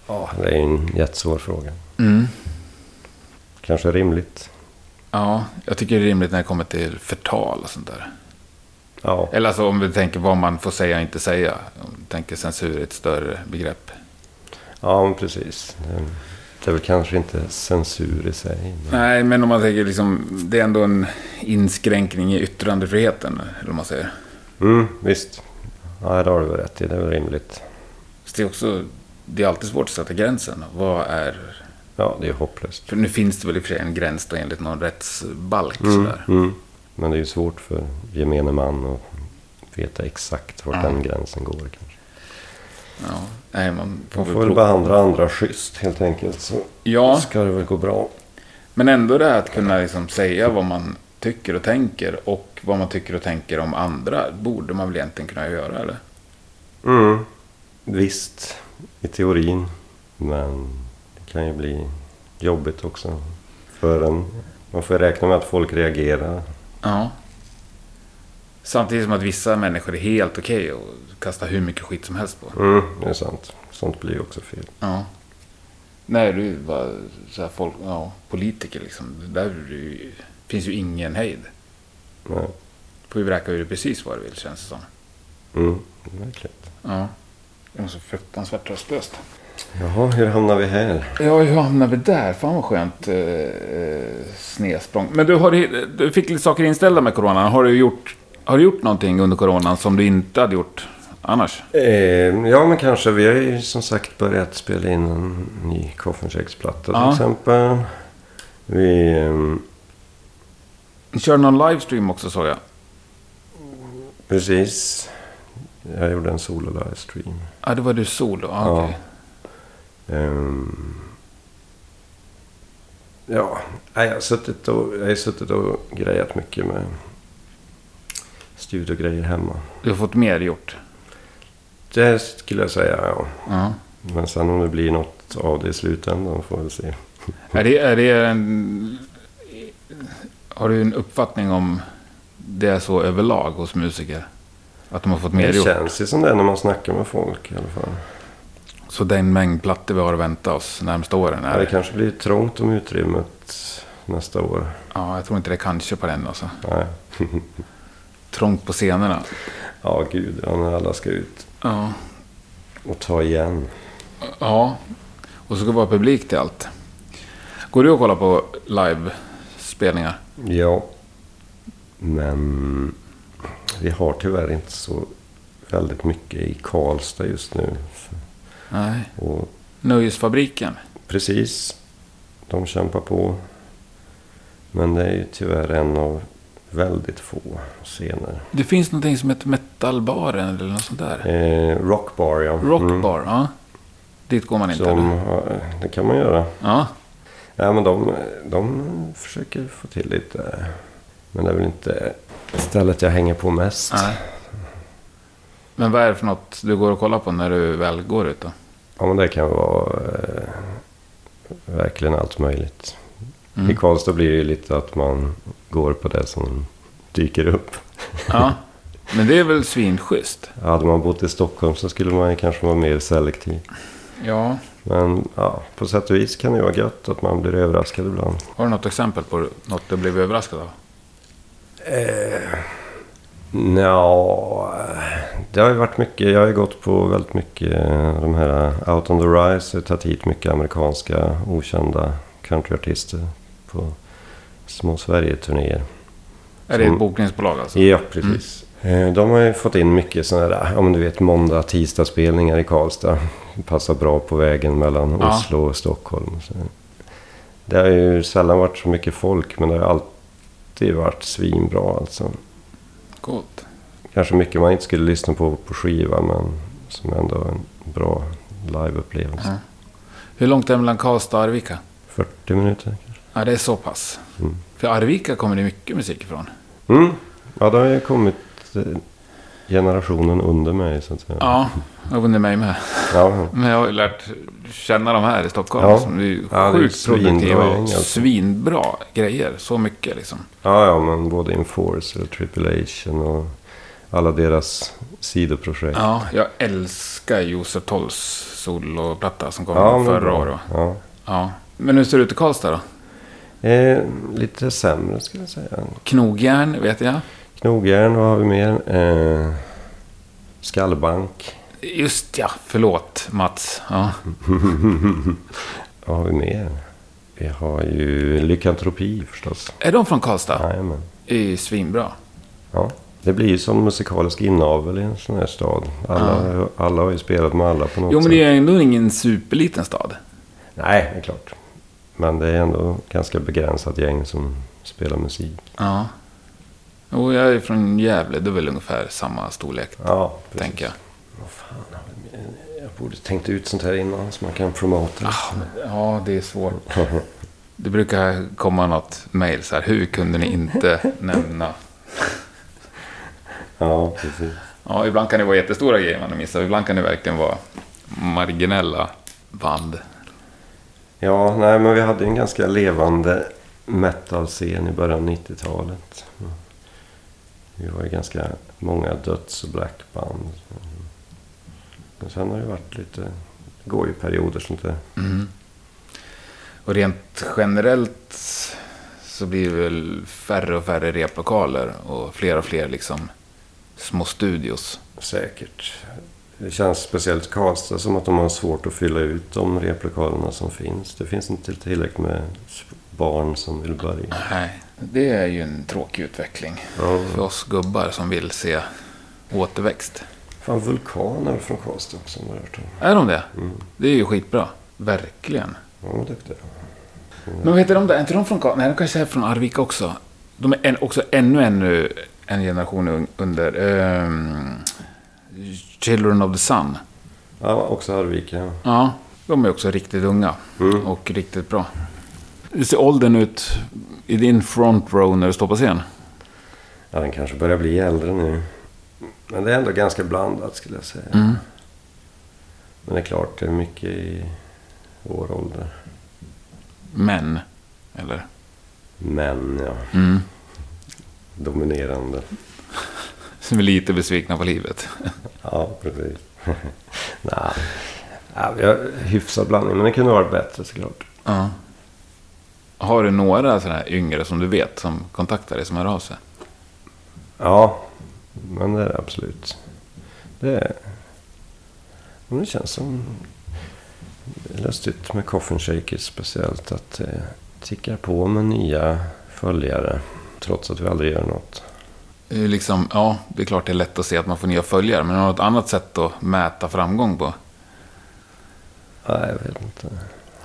S1: Ja, Mm. det är ju en jättesvår fråga. Kanske rimligt.
S2: Ja, jag tycker det är rimligt när det kommer till förtal och sånt där.
S1: Ja.
S2: Eller alltså om vi tänker vad man får säga och inte säga. Om vi tänker censur är ett större begrepp.
S1: Ja, men precis. Det- Det är väl kanske inte censur i sig. Men...
S2: Nej, men om man tänker liksom, det är ändå en inskränkning i yttrandefriheten, eller vad man säger.
S1: Mm, visst. Ja, det har du väl rätt i. Det är väl rimligt.
S2: Så det är också, det är alltid svårt att sätta gränsen. Vad är,
S1: Ja, det är hopplöst.
S2: för nu finns det väl i och för sig en gräns då enligt någon rättsbalk sådär.
S1: Mm. Men det är ju svårt för gemene man att veta exakt vart den gränsen går. Kanske.
S2: Ja, nej, man får,
S1: Man
S2: väl
S1: får väl
S2: prova.
S1: behandla andra schysst helt enkelt. Så
S2: Ja.
S1: ska det väl gå bra.
S2: Men ändå det här att kunna liksom säga vad man tycker och tänker och vad man tycker och tänker om andra borde man väl egentligen kunna göra eller?
S1: Mm. Visst, i teorin. Men det kan ju bli jobbigt också. För en. Man får räkna med att folk reagerar.
S2: Ja. Samtidigt som att vissa människor är helt okej och kastar hur mycket skit som helst på.
S1: Mm, det är sant. Sånt blir ju också fel.
S2: Ja. Nej, du var så här folk, ja, politiker liksom. Det där är ju, finns ju ingen hejd.
S1: Nej.
S2: Får ju vräka ur det precis vad du vill känns det som.
S1: Mm, verkligen.
S2: Ja. Det var så fruktansvärt tröstlöst.
S1: Jaha, hur hamnar vi här?
S2: Ja, hur hamnade vi där? Fan vad skönt eh, eh, snedsprång. Men du, har, du- du fick lite saker inställda med coronan. Har du, gjort, har du gjort någonting under coronan som du inte hade gjort annars?
S1: Eh, ja, men kanske. Vi har ju som sagt börjat spela in en ny Koffenshakes-platta
S2: Ja.
S1: till exempel. Vi... ehm,
S2: Ni körde någon livestream också såg jag.
S1: precis. Jag gjorde en solo-livestream.
S2: Ja, det var du solo. Ah,
S1: Ja.
S2: ja.
S1: Ehm, ja, nej, jag har suttit och, jag har suttit och grejat mycket med studiogrejer hemma.
S2: Du har fått mer gjort.
S1: Det skulle jag säga, ja.
S2: Ja.
S1: Men sen om det blir något av det i slutändan får vi se.
S2: Är det, är det en... Har du en uppfattning om det är så överlag hos musiker? Att de har fått mer
S1: Det
S2: gjort?
S1: känns ju som det när man snackar med folk i alla fall.
S2: Så den mängd plattor vi har att vänta oss närmsta åren
S1: Ja, det
S2: är...
S1: kanske blir trångt om utrymmet nästa år.
S2: Ja, jag tror inte det är kanske på den alltså.
S1: Nej.
S2: Trångt på scenerna.
S1: ja, gud, ja, när alla ska ut
S2: Ja.
S1: och ta igen.
S2: Ja. Och så ska det vara publik till allt. Går du och kollar på live-spelningar?
S1: Ja, men vi har tyvärr inte så väldigt mycket i Karlstad just nu.
S2: Nej.
S1: Och
S2: Nöjesfabriken?
S1: precis, de kämpar på. Men det är ju tyvärr en av väldigt få scener.
S2: Det finns någonting som heter Metalbaren eller något sånt där.
S1: Eh, rockbar, ja. Mm.
S2: Rockbar, ja. Dit går man inte.
S1: Som, eh,
S2: eller?
S1: har- det kan man göra.
S2: Ja.
S1: Nej, men de, de försöker få till lite. eh, Men det är väl inte stället jag hänger på mest.
S2: Nej. Men vad är det för något du går och kollar på när du väl går ut då?
S1: Ja, men det kan vara eh, verkligen allt möjligt.
S2: Mm.
S1: I Karlstad blir det ju lite att man går på det som dyker upp.
S2: Ja. Men det är väl svinschysst?
S1: Hade man bott i Stockholm så skulle man ju kanske vara mer selektiv.
S2: Ja.
S1: Men ja, på sätt och vis kan det ju vara gött att man blir överraskad ibland.
S2: Har du något exempel på något du blev överraskad av?
S1: Nja, det har ju varit mycket. Jag har ju gått på väldigt mycket eh, de här Out on the Rise. Jag har tagit hit mycket amerikanska okända countryartister på små Sverige-turnéer.
S2: Är det ett
S1: Som-
S2: bokningsbolag alltså?
S1: Ja, precis. Eh, De har ju fått in mycket sådana där, ja men du vet måndag, tisdag spelningar i Karlstad. Det Passar bra på vägen mellan
S2: Ja.
S1: Oslo och Stockholm. Så Det har ju sällan varit så mycket folk men det har alltid varit svinbra alltså.
S2: Coolt.
S1: Kanske mycket man inte skulle lyssna på på skiva men som ändå är en bra liveupplevelse.
S2: Ja. Hur långt är det mellan Karlstad och Arvika?
S1: 40 minuter kanske.
S2: Ja, det är så pass.
S1: Mm.
S2: För Arvika kommer det mycket musik ifrån.
S1: Mm. Ja, det har ju kommit eh, generationen under mig så att säga.
S2: Ja, och under mig med.
S1: Ja.
S2: Men jag har ju lärt känna de här i Stockholm.
S1: Ja.
S2: Som är ju
S1: Ja, det är
S2: sjukt
S1: svinbra
S2: produktiva
S1: gäng,
S2: och
S1: alltså.
S2: svinbra grejer. Så mycket liksom.
S1: Ja, ja, men både Enforcer och Tripulation och alla deras sidoprojekt.
S2: Ja, jag älskar Josef Tolls soloplatta som kom
S1: Ja, men
S2: förra
S1: bra.
S2: året.
S1: Ja.
S2: Ja. Men hur ser det ut i Karlstad då?
S1: Eh, lite sämre skulle jag säga.
S2: Knogjärn vet jag.
S1: Knogjärn, vad har vi mer? Eh, skallbank.
S2: Just ja, förlåt Mats. Ja.
S1: Mm. vad har vi mer? Vi har ju lykantropi förstås.
S2: Är de från Karlstad?
S1: Jajamän.
S2: Det är ju svinbra.
S1: Ja. Det blir ju som musikalisk inavel i en sån här stad. Alla, alla har ju spelat med alla på något
S2: Ah. Jo, men det
S1: sätt.
S2: är ändå ingen superliten stad.
S1: Nej, det är klart. Men det är ändå ganska begränsat gäng som spelar musik.
S2: Ja. Jo, jag är från Gävle. Det är väl ungefär samma storlek,
S1: Ja, precis.
S2: tänker jag.
S1: Jag borde tänkt ut sånt här innan så man kan promota.
S2: Ah. Ja, det är svårt. Det brukar komma något mejl så här. Hur kunde ni inte nämna?
S1: ja, precis.
S2: Ja, ibland kan det vara jättestora grejer man missar. Ibland kan det verkligen vara marginella band.
S1: Ja, nej men vi hade ju en ganska levande metal-scen i början av 90-talet. Vi var ju ganska många döds och blackband. Men sen har det varit lite... Det går ju perioder sånt där.
S2: Och rent generellt så blir det väl färre och färre replokaler och fler och fler liksom små studios.
S1: Säkert. Det känns speciellt Karlstad som att de har svårt att fylla ut de replokalerna som finns. Det finns inte tillräckligt med barn som vill börja.
S2: Nej, det är ju en tråkig utveckling
S1: Ja.
S2: för oss gubbar som vill se återväxt.
S1: Fan, Vulkan är väl från Karlstad också om jag har hört om.
S2: Är de det? Det är ju skitbra. Verkligen.
S1: Ja, de är duktiga.
S2: Men vad heter de där? Är inte de från Karl- Nej, de kanske är från Arvika också. De är en, också ännu, ännu en generation un- under. ehm, Children of the Sun.
S1: Ja, också Arvika. ja.
S2: Ja, Mm. de är också riktigt unga. Och riktigt bra. Hur ser åldern ut i din front row när du står på scen?
S1: Ja, den kanske börjar bli äldre nu. Men det är ändå ganska blandat skulle jag säga. Men det är klart, det är mycket i vår ålder.
S2: Män? Eller?
S1: Män, ja.
S2: Mm.
S1: Dominerande.
S2: Som är lite besvikna på livet.
S1: Ja, precis. Nej, ja, vi har hyfsad blandning. Men det kunde ha varit bättre såklart.
S2: Ja. Har du några sådana här yngre som du vet som kontaktar dig, som hör av sig?
S1: Ja, men det är det absolut. Det är... Men det känns som... Det är lustigt med Coffin Shakers speciellt att det tickar på med nya följare. Trots att vi aldrig gör något.
S2: Det är Liksom, ja, det är klart det är lätt att se att man får nya följare, men har du något annat sätt att mäta framgång på?
S1: Nej, jag vet inte.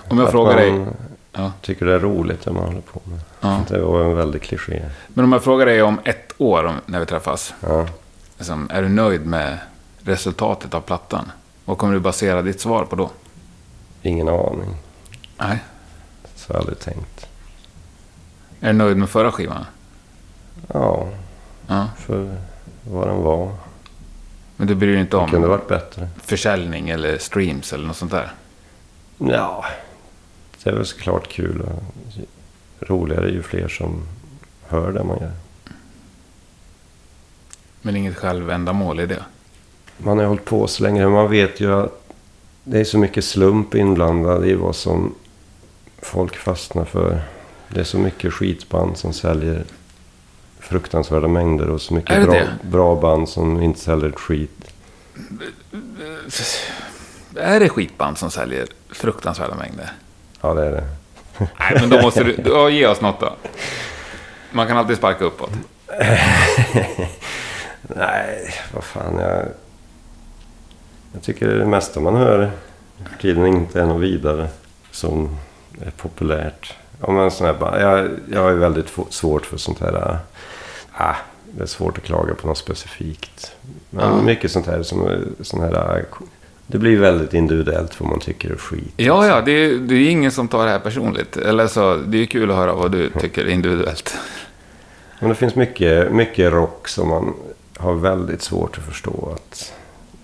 S2: Om jag
S1: att
S2: frågar dig...
S1: man
S2: Ja.
S1: tycker det är roligt det man håller på med.
S2: Ja.
S1: Det var en väldig kliché.
S2: Men om jag frågar dig om ett år om, när vi träffas,
S1: Ja.
S2: liksom, är du nöjd med resultatet av plattan? Vad kommer du basera ditt svar på då?
S1: Ingen aning.
S2: Nej.
S1: Så har jag aldrig tänkt.
S2: Är du nöjd med förra skivan?
S1: Ja,
S2: Ja.
S1: för vad den var.
S2: Men du bryr dig inte om
S1: Kunde varit bättre.
S2: försäljning eller streams eller något sånt där?
S1: Ja, det är väl såklart kul. Och roligare ju fler som hör det man gör.
S2: Men inget självändamål i det?
S1: Man har ju hållit på så länge. men Man vet ju att det är så mycket slump inblandad i vad som folk fastnar för. Det är så mycket skitband som säljer fruktansvärda mängder och så
S2: Är det
S1: mycket bra,
S2: det?
S1: bra band som inte säljer ett skit.
S2: Är det skitband som säljer fruktansvärda mängder?
S1: Ja, det är det.
S2: Nej, men då måste du ja, ge oss något då. Man kan alltid sparka uppåt.
S1: Nej, vad fan. Jag, jag tycker det mesta man hör för tiden inte är något vidare som är populärt. Ja, men sån här, ba- jag, jag är väldigt få- svårt för sånt här. Ah, det är svårt att klaga på något specifikt. Men mycket sånt här som är- sån här... Det blir väldigt individuellt vad man tycker är skit.
S2: Ja, ja, det är, det är ingen som tar det här personligt. Eller så, det är ju kul att höra vad du tycker individuellt.
S1: Men det finns mycket, mycket rock som man har väldigt svårt att förstå att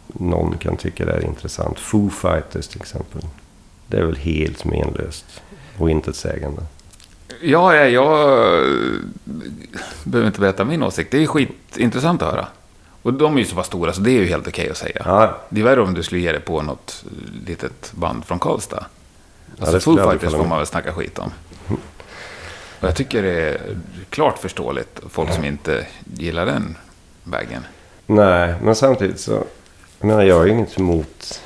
S1: någon kan tycka det är intressant. Foo Fighters till exempel. Det är väl helt menlöst och intetsägande.
S2: Ja, ja, jag eh, behöver inte berätta min åsikt. Det är ju skitintressant att höra. Och de är ju så pass stora, så det är ju helt okej att säga.
S1: Ja,
S2: Det är värre om du skulle ge dig på något eh, litet band från Karlstad. Alltså
S1: det skulle
S2: Foo
S1: jag aldrig Mm.
S2: Fighters
S1: kalla
S2: får
S1: mig.
S2: man väl snacka skit om. Och jag tycker det är klart förståeligt, folk som inte gillar den vägen.
S1: nej, men samtidigt så... Jag menar, jag har ju inget emot...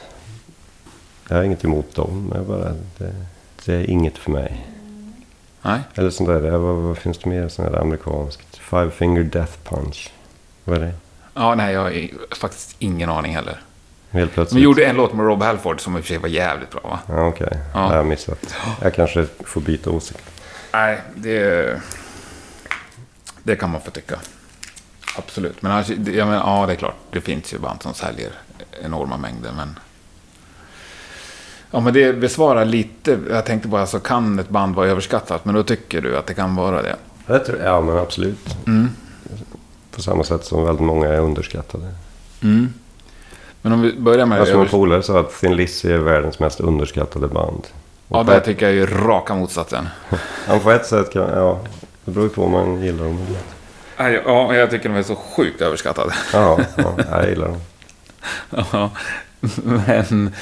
S1: Jag har inget emot dem. men Jag bara, det, det är inget för mig.
S2: Nej,
S1: Eller sånt där, det- vad, vad finns det mer sånt där amerikanskt? Five Finger Death Punch. Vad är det?
S2: ja, nej jag har i- faktiskt ingen aning heller.
S1: Helt plötsligt.
S2: De gjorde en låt med Rob Halford som i och för sig var jävligt bra va?
S1: Ja, okej. Det har jag missat. Jag kanske får byta åsikt.
S2: Nej, det... Det kan man få tycka. Absolut. Men alltså, det- jag menar, ja, det är klart. Det finns ju band som säljer enorma mängder, men... Ja, men det besvarar lite. Jag tänkte bara, så kan ett band vara överskattat? Men då tycker du att det kan vara det?
S1: Ja, Det tror jag, ja men absolut. På samma sätt som väldigt många är underskattade.
S2: Men om vi börjar med...
S1: Alltså min
S2: Övers...
S1: polare sa att Thin Lizzy är världens mest underskattade band.
S2: Ja, där tycker jag ju raka motsatsen.
S1: Han på ett sätt kan, ja, det beror ju på om man gillar dem eller inte.
S2: Nej, Ja, jag tycker de är så sjukt överskattade.
S1: Ja, ja, jag gillar dem.
S2: Ja, men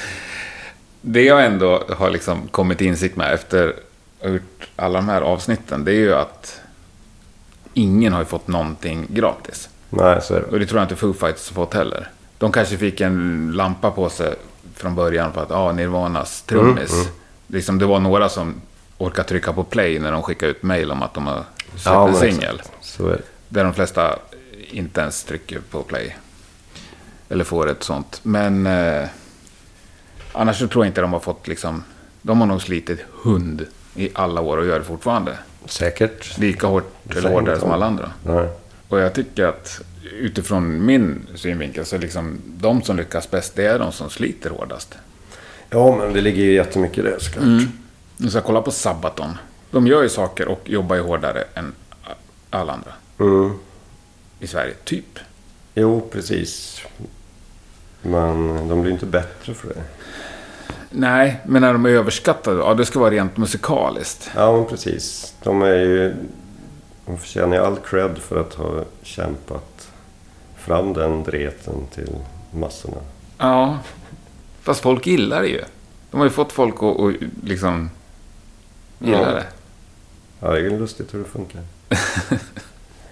S2: det jag ändå har liksom kommit till insikt med efter att ha gjort alla de här avsnitten, det är ju att ingen har ju fått någonting gratis.
S1: Nej, så är det.
S2: Och det tror jag inte Foo Fighters har fått heller. De kanske fick en lampa på sig från början för att, ja, Nirvanas trummis.
S1: Mm,
S2: Liksom, det var några som orkade trycka på play när de skickade ut mail om att de har släppt
S1: Ja,
S2: en
S1: men
S2: singel.
S1: Så är det.
S2: Där de flesta inte ens trycker på play. Eller får ett sånt. Men eh, annars så tror jag inte de har fått liksom... De har nog slitit hund i alla år och gör det fortfarande.
S1: Säkert.
S2: Lika hårt eller
S1: säger
S2: hårdare
S1: inte
S2: som
S1: de.
S2: alla andra.
S1: Nej.
S2: Och jag tycker att utifrån min synvinkel så liksom de som lyckas bäst det är de som sliter hårdast.
S1: Ja, men det ligger ju jättemycket i det
S2: Mm.
S1: såklart.
S2: Om ska kolla på Sabaton. De gör ju saker och jobbar ju hårdare än alla andra.
S1: Mm.
S2: I Sverige, typ.
S1: Jo, precis. Men de blir ju inte bättre för det.
S2: Nej, men när de är överskattade, ja det ska vara rent musikaliskt.
S1: Ja, men precis. De är ju... De förtjänar ju all cred för att ha kämpat fram den dreten till massorna.
S2: Ja. Fast folk gillar det ju. De har ju fått folk att, att liksom gilla
S1: Ja.
S2: det.
S1: Ja, det är ju lustigt hur det funkar.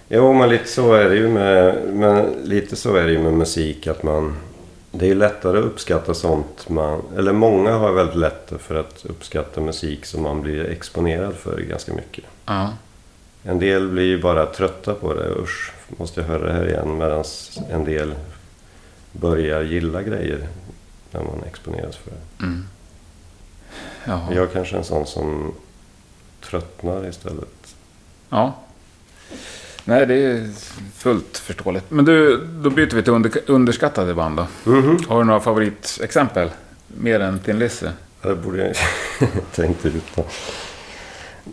S1: jo, men lite så är det ju med... Men lite så är det ju med musik att man... Det är ju lättare att uppskatta sånt man... Eller många har väldigt lätt för att uppskatta musik som man blir exponerad för ganska mycket.
S2: Ja.
S1: En del blir ju bara trötta på det. Usch, måste jag höra det här igen. Medan en del börjar gilla grejer när man exponeras för det.
S2: Ja.
S1: Jag är kanske en sån som tröttnar istället.
S2: ja. Nej, det är fullt förståeligt. Men du, då byter vi till under, underskattade band då. Har du några favoritexempel? Mer än Tin Lizzy?
S1: Ja, Det borde jag tänkt ut. då.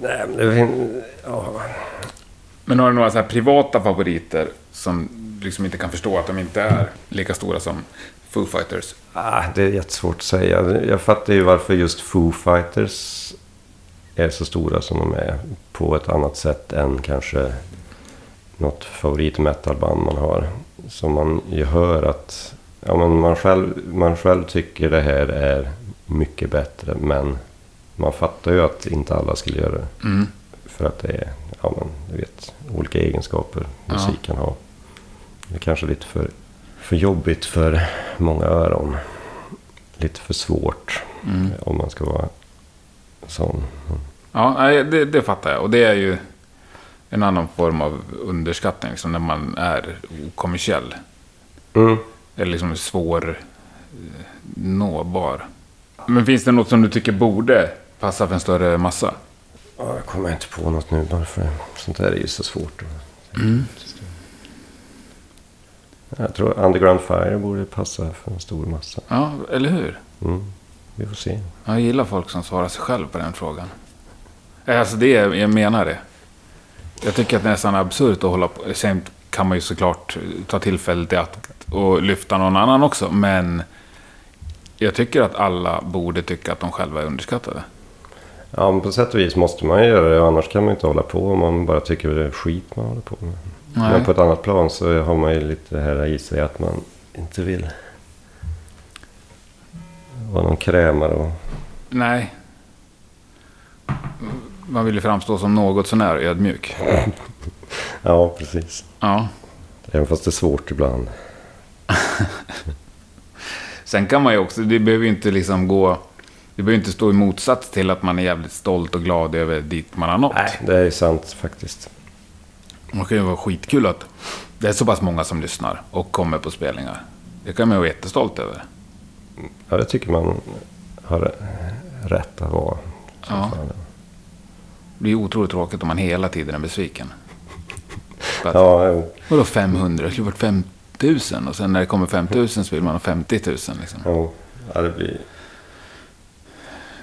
S1: Nej, men det fin- ja.
S2: Men har du några så här privata favoriter som liksom inte kan förstå att de inte är lika stora som Foo Fighters?
S1: Ah, det är jättesvårt att säga. Jag fattar ju varför just Foo Fighters är så stora som de är. På ett annat sätt än kanske något favoritmetalband man har. Som man ju hör att ja, men man, själv, man själv tycker det här är mycket bättre. Men man fattar ju att inte alla skulle göra det.
S2: Mm.
S1: För att det är ja, men, du vet, olika egenskaper
S2: Ja.
S1: musik kan ha. Det är kanske lite för, för jobbigt för många öron. Lite för svårt eh,
S2: Mm.
S1: om man ska vara sån.
S2: Ja, nej, det, det fattar jag. Och det är ju en annan form av underskattning, liksom när man är kommersiell.
S1: Mm.
S2: Eller liksom svår eh, nåbar. Men finns det något som du tycker borde passa för en större massa?
S1: Ja, jag kommer inte på något nu bara för sånt där är ju så svårt. att- Jag tror Underground Fire borde passa för en stor massa.
S2: Ja, eller hur?
S1: Mm. Vi får se.
S2: Jag gillar folk som svarar sig själv på den frågan. Eh, Alltså det, är- jag menar det. Jag tycker att det är nästan absurt att hålla på. Sen kan man ju såklart ta tillfället i att och lyfta någon annan också, men jag tycker att alla borde tycka att de själva är underskattade.
S1: Ja, men på sätt och vis måste man ju göra det. Annars kan man ju inte hålla på om man bara tycker det är skit man håller på med.
S2: Nej.
S1: Men på ett annat plan så har man ju lite det här i sig att man inte vill vara någon krämare. Och...
S2: Nej. Man vill ju framstå som något sånär ödmjuk.
S1: Ja, precis.
S2: Ja.
S1: Även fast det är svårt ibland.
S2: Sen kan man ju också, det behöver ju inte liksom gå... Det behöver inte stå i motsats till att man är jävligt stolt och glad över dit man har nått.
S1: Det är sant faktiskt.
S2: Man kan ju vara skitkul att det är så pass många som lyssnar och kommer på spelningar. Det kan man ju vara jättestolt över.
S1: Ja, det tycker man har rätt att vara. som
S2: Ja.
S1: fan.
S2: Det blir ju otroligt tråkigt om man hela tiden är besviken. För att,
S1: ja jo.
S2: Vadå 500? Det skulle varit 5000 och sen när det kommer 5000 så vill man ha 50 000 liksom.
S1: jo. Ja, det blir...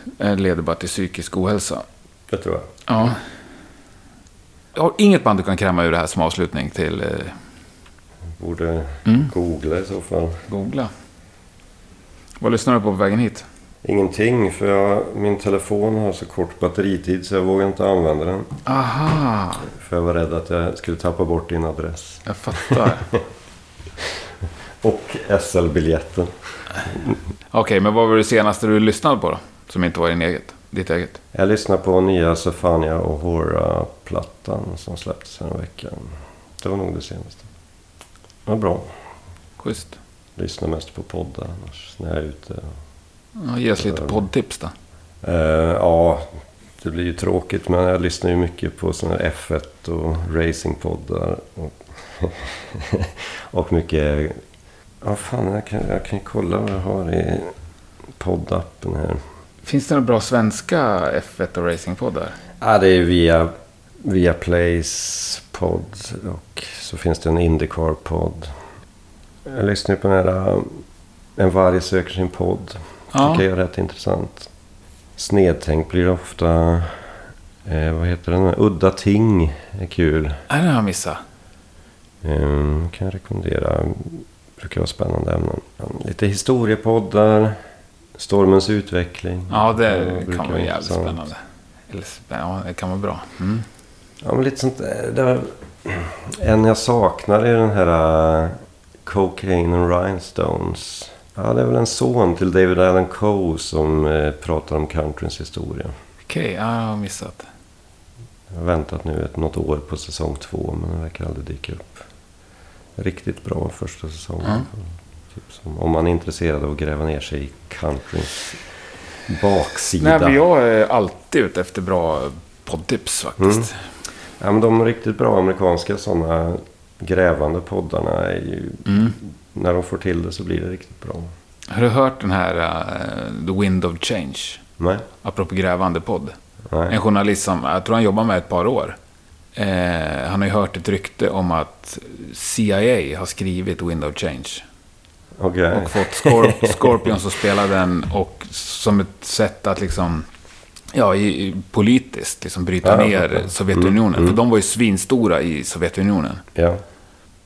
S2: Det leder bara till psykisk ohälsa.
S1: Det tror jag.
S2: Ja. Jag har inget band du kan kräma ur det här som avslutning till eh,
S1: Borde
S2: Mm.
S1: googla i så fall.
S2: googla. Vad lyssnar du på på vägen hit?
S1: Ingenting, för jag, min telefon har så kort batteritid så jag vågar inte använda den.
S2: Aha,
S1: För jag var rädd att jag skulle tappa bort din adress.
S2: jag fattar. Okej,
S1: Och SL-biljetten.
S2: men vad var det senaste du lyssnade på då? Som inte var din eget? Ditt eget?
S1: Jag lyssnar på nya Sofania och Hora-plattan som släpptes här veckan. Det var nog det senaste. Det var bra.
S2: Schysst.
S1: Lyssnar mest på poddar annars när jag är ute.
S2: Ja, ge oss lite poddtips då.
S1: Eh, ja, det blir ju tråkigt men jag lyssnar ju mycket på sådana här F1 och racingpoddar. Och, och mycket... Ja, fan, jag kan, jag kan ju kolla vad jag har i poddappen här.
S2: Finns det några bra svenska F1 och racingpoddar?
S1: Ja, det är via, via Plays podd och så finns det en Indycar-podd. Jag lyssnar på den här um, En varg söker sin podd.
S2: Ja.
S1: Tycker jag är rätt intressant. Snedtänk blir det ofta. Eh, vad heter den? Udda ting är kul.
S2: Nej, den har jag missat.
S1: Ehm, kan jag rekommendera. Brukar vara spännande ämnen. Lite historiepoddar. Stormens utveckling.
S2: Ja,
S1: Ja,
S2: det
S1: brukar
S2: kan vara
S1: vara
S2: jävligt
S1: intressant.
S2: spännande. Eller, spä- ja, det kan vara bra. Mm.
S1: Ja, men lite sånt där. Det var- En jag saknar är den här äh, Cocaine and Rhinestones. Ja, det är väl en son till David Allan Coe som eh, pratar om countryns historia.
S2: Okej, ja, jag har missat.
S1: Jag har väntat nu ett, något år på säsong två, men den verkar aldrig dyka upp. Riktigt bra första säsongen.
S2: Ja.
S1: Typ som, om man är intresserad av att gräva ner sig i countryns baksida.
S2: Nej, men jag är alltid ute efter bra poddtips faktiskt.
S1: Mm. Ja, men de riktigt bra amerikanska sådana grävande poddarna är ju... När de får till det så blir det riktigt bra.
S2: Har du hört den här eh, The Wind of Change?
S1: Nej?
S2: Apropå grävande podd.
S1: Nej.
S2: En journalist som, jag tror han jobbar med ett par år. Eh, han har ju hört ett rykte om att CIA har skrivit Wind of Change.
S1: Okej.
S2: och fått Scorp Scorpions att spela den och som ett sätt att liksom ja, i, i- politiskt liksom bryta
S1: Ja, jag
S2: ner
S1: fattar. Mm,
S2: Sovjetunionen. För de var ju svinstora i Sovjetunionen.
S1: Ja.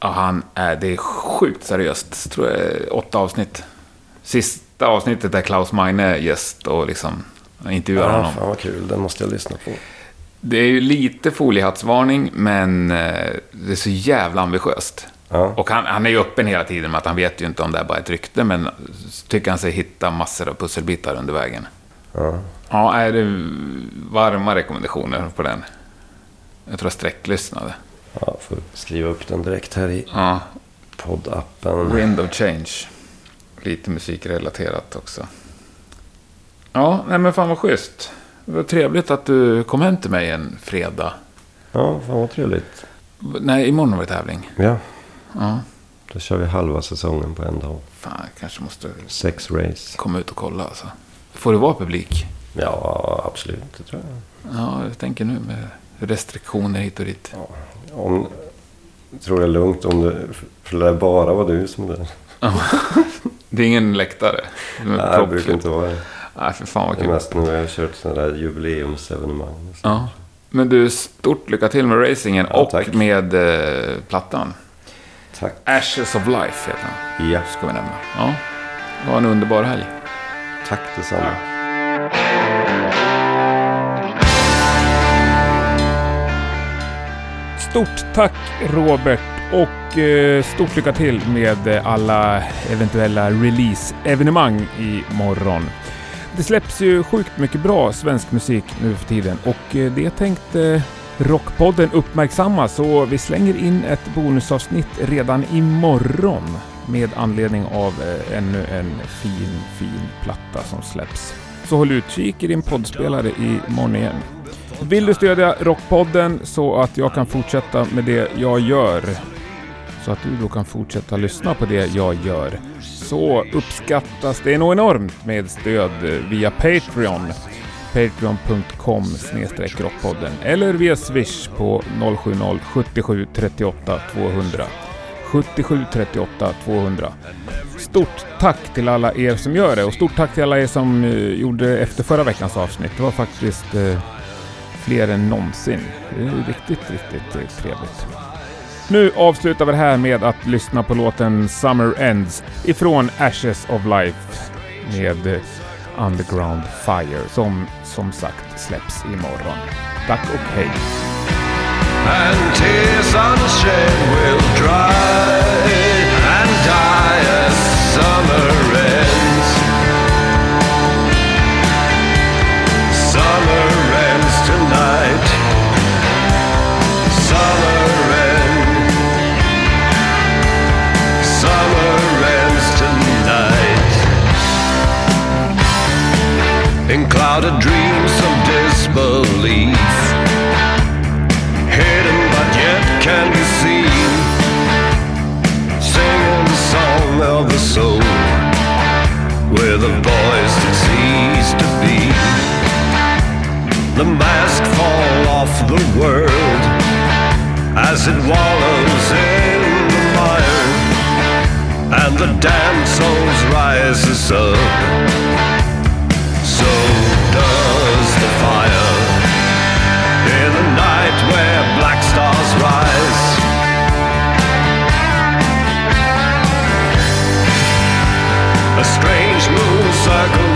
S2: Ja, han är, det är sjukt seriöst. Tror jag, åtta avsnitt. Sista avsnittet är Klaus Meine är gäst och liksom intervjuar
S1: Ah,
S2: honom.
S1: fan vad kul, den måste jag lyssna på.
S2: Det är ju lite foliehattsvarning, men eh, det är så jävla ambitiöst.
S1: Ja.
S2: Och han, han är ju öppen hela tiden med att han vet ju inte om det är bara ett rykte, men s- tycker han sig hitta massor av pusselbitar under vägen.
S1: Ja.
S2: Ja, är det varma rekommendationer på den? Jag tror jag sträcklyssnade.
S1: Ja, får skriva upp den direkt här i
S2: Ja,
S1: poddappen.
S2: Wind of Change. Lite musikrelaterat också. Ja, nej men fan vad schysst. Det var trevligt att du kom hem till mig en fredag.
S1: Ja, fan vad trevligt.
S2: Nej, imorgon var det tävling.
S1: Ja,
S2: Ja.
S1: då kör vi halva säsongen på en dag.
S2: Fan, jag kanske måste
S1: Sex race.
S2: komma ut och kolla alltså. Får det vara publik?
S1: Ja, absolut. Det tror jag.
S2: Ja, jag tänker nu med restriktioner hit och dit.
S1: Om, tror det är lugnt om du... För det bara var du som det.
S2: Det är ingen läktare?
S1: Nej, det brukar inte vara det.
S2: Nej, för fan vad
S1: Det är
S2: kul.
S1: mest när jag har kört sådana där jubileumsevenemang. och så.
S2: Ja. Men du, stort lycka till med racingen
S1: Ja,
S2: och
S1: tack.
S2: med eh, plattan.
S1: Tack.
S2: Ashes of Life heter den.
S1: Ja,
S2: ska vi nämna. Ja. Det var en underbar helg.
S1: tack detsamma.
S5: Stort tack Robert och eh, stort lycka till med eh, alla eventuella release-evenemang imorgon. Det släpps ju sjukt mycket bra svensk musik nu för tiden och eh, det tänkte Rockpodden uppmärksamma så vi slänger in ett bonusavsnitt redan imorgon med anledning av eh, ännu en fin, fin platta som släpps. Så håll utkik i din poddspelare imorgon igen. Vill du stödja Rockpodden så att jag kan fortsätta med det jag gör så att du då kan fortsätta lyssna på det jag gör så uppskattas det nog enormt med stöd via Patreon. Patreon.com snedstreck rockpodden eller via Swish på 070 77 38 200. 77 38 200. Stort tack till alla er som gör det och stort tack till alla er som eh, gjorde efter förra veckans avsnitt. Det var faktiskt eh, fler än någonsin. Det är riktigt, riktigt eh, trevligt. Nu avslutar vi det här med att lyssna på låten Summer Ends ifrån Ashes of Life med eh, Underground Fire som som sagt släpps imorgon. Tack och hej!
S3: and tears unshed will dry and die as summer ends. Summer ends tonight. Summer ends. Summer ends tonight. In clouded dreams of disbelief hidden but yet can be seen. Singing the song of the soul with a voice that ceased to be. The mask fall off the world as it wallows in the mire, and the damned souls rises up. So does the fire. In the night where black stars rise. A strange moon circles Oh,